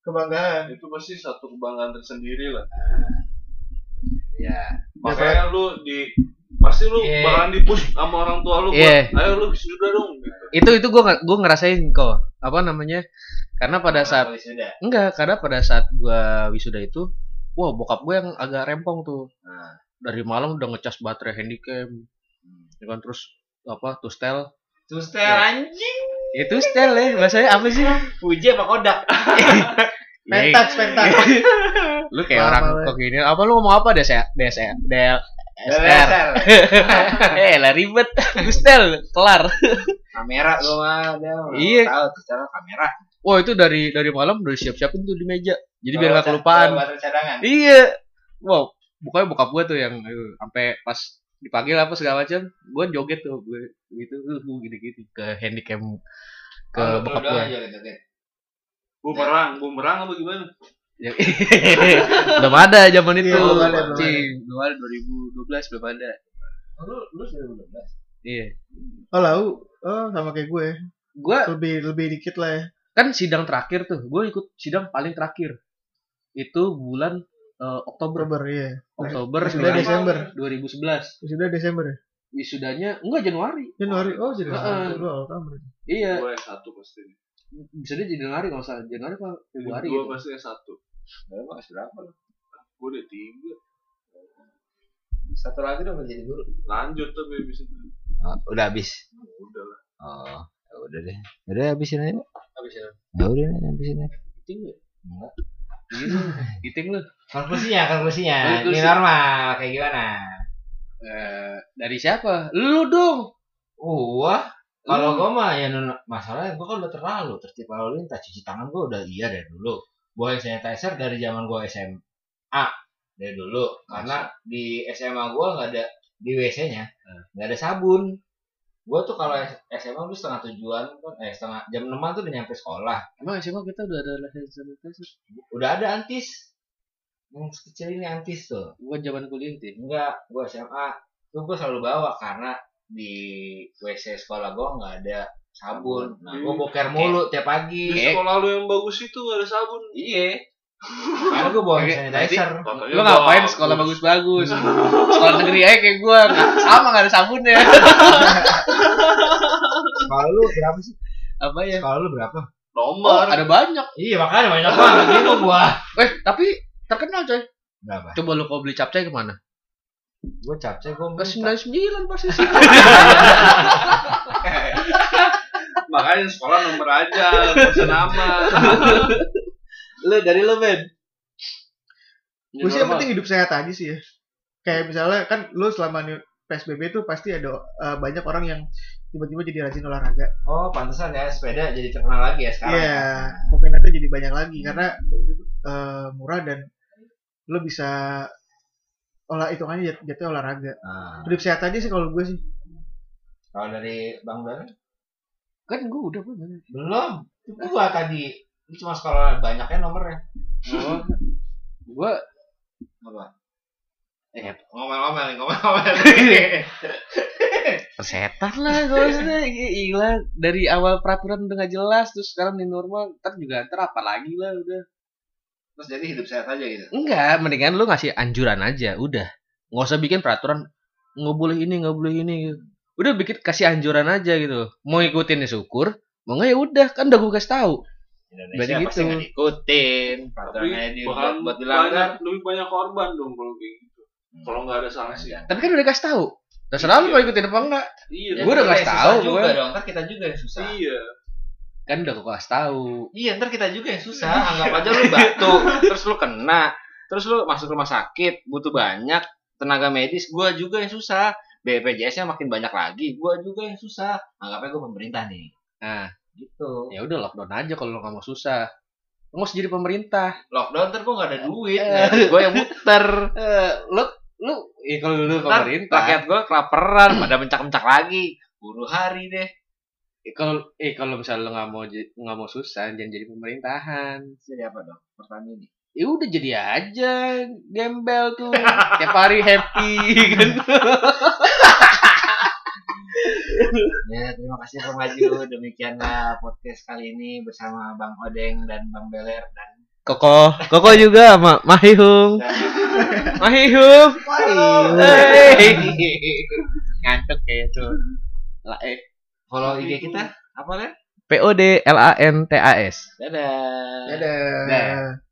Speaker 1: kebanggaan
Speaker 4: Itu pasti satu kebanggaan tersendiri lah.
Speaker 2: Ya.
Speaker 4: Makanya lu di pasti lu
Speaker 5: Iya.
Speaker 4: bakalan dipush sama orang tua lu buat,
Speaker 5: Iya.
Speaker 4: ayo lu wisuda dong gitu.
Speaker 5: itu itu gue gue ngerasain kok apa namanya karena pada saat
Speaker 2: wisuda.
Speaker 5: enggak karena pada saat gua wisuda itu wah bokap gue yang agak rempong tuh
Speaker 2: Nah.
Speaker 5: dari malam udah ngecas baterai handycam ya kan terus apa tuh setel
Speaker 2: Terus teh anjing
Speaker 5: itu setel ya bahasanya apa sih Iya,
Speaker 2: puji apa kodak?
Speaker 1: pentas pentas
Speaker 5: lu kayak
Speaker 1: Parah
Speaker 5: orang
Speaker 1: banget.
Speaker 5: kok gini apa lu ngomong apa ya? DSR DSR DL SR eh lah ribet Gustel kelar
Speaker 2: kamera gua mah dia mah
Speaker 5: Iya.
Speaker 2: Oh, tahu tuh cara kamera
Speaker 5: wah itu dari dari malam udah siap siapin tuh di meja jadi biar
Speaker 2: Kalau
Speaker 5: nggak
Speaker 2: ca-
Speaker 5: kelupaan
Speaker 2: kalau baterai cadangan
Speaker 5: iya wow bukanya bokap gue tuh yang aduh, sampai pas dipanggil apa segala macam gue joget tuh gue gitu gue gini gini ke handycam ke
Speaker 2: Kalau
Speaker 5: bokap
Speaker 2: doang aja
Speaker 5: gue
Speaker 2: gitu, Tin.
Speaker 5: Iya.
Speaker 4: Bumerang, bumerang apa gimana?
Speaker 5: Ya, belum ada zaman
Speaker 1: Iya,
Speaker 5: itu
Speaker 1: belum ada, belum ada.
Speaker 5: cing belum ada 2012 belum ada
Speaker 2: Oh, lu lu sudah belum Mas?
Speaker 5: iya
Speaker 1: oh lau oh sama kayak gue
Speaker 5: gue
Speaker 1: lebih lebih dikit lah ya
Speaker 5: kan sidang terakhir tuh gue ikut sidang paling terakhir itu bulan eh, Oktober
Speaker 1: Oktober iya
Speaker 5: Oktober
Speaker 1: Wisuda
Speaker 5: bulan
Speaker 1: Desember.
Speaker 5: 2011
Speaker 1: sudah Desember ya
Speaker 5: wisudanya enggak Januari
Speaker 1: Januari oh jadi
Speaker 5: Heeh.
Speaker 1: Desember Gua awal tahun berarti.
Speaker 5: iya
Speaker 4: Gue S1 pasti.
Speaker 5: wisudanya Januari kalau nggak salah Januari apa Februari
Speaker 4: Gue
Speaker 5: gitu.
Speaker 4: pasti S1.
Speaker 2: Baru Mas, berapa lu?
Speaker 4: Gue udah tiga.
Speaker 2: Satu lagi udah menjadi guru.
Speaker 4: Lanjut tapi habis itu.
Speaker 2: Oh, udah habis.
Speaker 4: Udah lah.
Speaker 2: Oh, ya udah deh. Udah habisin aja. Pak.
Speaker 5: habis itu
Speaker 2: Ya udah deh, habisin aja.
Speaker 5: Giting lu
Speaker 2: Enggak.
Speaker 5: Gitu, giting lu
Speaker 2: Konklusinya, konklusinya.
Speaker 5: Konklusi.
Speaker 2: Ini normal kayak gimana?
Speaker 5: Eh, dari siapa lu dong
Speaker 2: Wah,
Speaker 5: Iya.
Speaker 2: kalau gua mah ya nun- masalahnya gua kan udah terlalu tertib lalu lintas cuci tangan gua udah iya dari dulu. Gua hand sanitizer dari zaman gua SMA. dari dulu karena di SMA gua nggak ada di WC-nya nggak ada sabun gua tuh kalau SMA tuh setengah tujuan kan eh setengah jam enaman tuh udah nyampe sekolah
Speaker 5: Emang SMA kita udah ada lesson sanitizer?
Speaker 2: udah ada antis yang kecil ini antis tuh
Speaker 5: Bukan zaman kuliah gitu ya?
Speaker 2: enggak gua SMA tuh gua selalu bawa karena di WC sekolah gua nggak ada sabun nah gua boker mulu tiap
Speaker 4: Di
Speaker 2: pagi
Speaker 5: Kayak-
Speaker 4: sekolah lu yang bagus itu gak ada sabun.
Speaker 2: iya karena gua bawa hand sanitizer
Speaker 4: Katanya
Speaker 5: Lu ngapain
Speaker 4: Iya, bagus.
Speaker 5: sekolah bagus-bagus? sekolah negeri aja kayak gua nggak sama nggak ada sabunnya.
Speaker 2: kalau lu berapa sih
Speaker 5: Apa ya?
Speaker 2: kalau lu berapa
Speaker 5: Oh,
Speaker 4: Nomor.
Speaker 5: ada banyak.
Speaker 2: iya makanya banyak banget gitu gua
Speaker 5: Eh, tapi terkenal coy.
Speaker 2: berapa
Speaker 5: Coba lu kalau beli capcay kemana?
Speaker 2: gua capcay gua
Speaker 5: Ke
Speaker 2: minta.
Speaker 5: 99 pasti sih.
Speaker 4: Makanya sekolah nomor aja, pesen nama.
Speaker 2: lu dari lu Ben
Speaker 1: Gue sih yang
Speaker 5: Iya,
Speaker 1: penting hidup sehat aja sih ya. Kayak misalnya kan lu selama ini PSBB itu pasti ada eh, banyak orang yang tiba-tiba jadi rajin olahraga.
Speaker 2: oh pantesan ya sepeda jadi terkenal lagi ya
Speaker 1: Iya,
Speaker 2: sekarang
Speaker 1: peminatnya jadi banyak lagi karena eh, murah dan lu bisa olah hitungannya jat- jatuh olahraga.
Speaker 2: Nah,
Speaker 1: Hidup sehat aja sih kalau gue sih.
Speaker 2: kalau dari Bang Ben
Speaker 5: Kan gua udah gua nanya.
Speaker 2: belum itu gua tadi Ini cuma sekolah banyaknya nomornya
Speaker 5: Oh, gua
Speaker 2: apa eh ngomel-ngomel nih, ngomel-ngomel
Speaker 5: persetan lah gua maksudnya Gi- gila dari awal peraturan udah nggak jelas terus sekarang di normal ntar juga ntar apa lagi lah udah
Speaker 2: terus jadi hidup sehat aja gitu
Speaker 5: enggak mendingan lu ngasih anjuran aja udah nggak usah bikin peraturan nggak boleh ini nggak boleh ini gitu. udah bikin kasih anjuran aja gitu mau ikutin ya syukur mau nggak ya udah kan udah gue kasih tahu
Speaker 2: Indonesia
Speaker 5: Berarti
Speaker 2: pasti
Speaker 5: gitu.
Speaker 2: nggak diikutin peratuannya
Speaker 4: Tapi
Speaker 2: di
Speaker 4: bakalan
Speaker 2: buat dilanggar
Speaker 4: banyak, lebih banyak korban dong kalau kayak gitu. Kalau nggak ada sanksi.
Speaker 5: tapi kan udah kasih tahu terserah lu mau ikutin apa enggak
Speaker 4: Iya.
Speaker 5: Gua udah
Speaker 2: kita
Speaker 5: ngasih
Speaker 2: yang
Speaker 5: tahu,
Speaker 2: Ya, susah juga
Speaker 5: gua.
Speaker 2: dong kan kita juga yang susah
Speaker 4: Iya.
Speaker 5: kan udah gue kasih tahu
Speaker 2: iya ntar kita juga yang susah anggap aja lu batuk terus lu kena terus lu masuk rumah sakit butuh banyak tenaga medis gua juga yang susah BPJS-nya makin banyak lagi gua juga yang susah anggapnya gua pemerintah nih
Speaker 5: nah
Speaker 2: gitu
Speaker 5: ya udah lockdown aja kalau lu nggak mau susah lu nggak usah jadi pemerintah
Speaker 2: lockdown ntar gua nggak ada duit
Speaker 5: Eh.
Speaker 2: nggak ada- gua yang muter
Speaker 5: Eh, lu lu ya kalau lu
Speaker 2: ntar
Speaker 5: pemerintah
Speaker 2: rakyat gua kelaparan pada mencak-mencak lagi buru hari deh
Speaker 5: Eh, kalau eh kalau misalnya lo nggak mau j- nggak mau susah jangan jadi pemerintahan
Speaker 2: jadi apa dong pertanyaan ini
Speaker 5: ya udah jadi aja gembel tuh tiap hari happy kan
Speaker 2: Ya, terima kasih Pak Maju. Demikianlah podcast kali ini bersama Bang Odeng dan Bang Beler dan
Speaker 5: koko koko juga ma mahihung mahihung
Speaker 1: Iya.
Speaker 5: Hey. ngantuk kayak itu lah eh
Speaker 2: follow IG kita apa kan?
Speaker 5: p o d l a n t a s
Speaker 2: Dadah.
Speaker 1: Dadah.
Speaker 5: Dadah.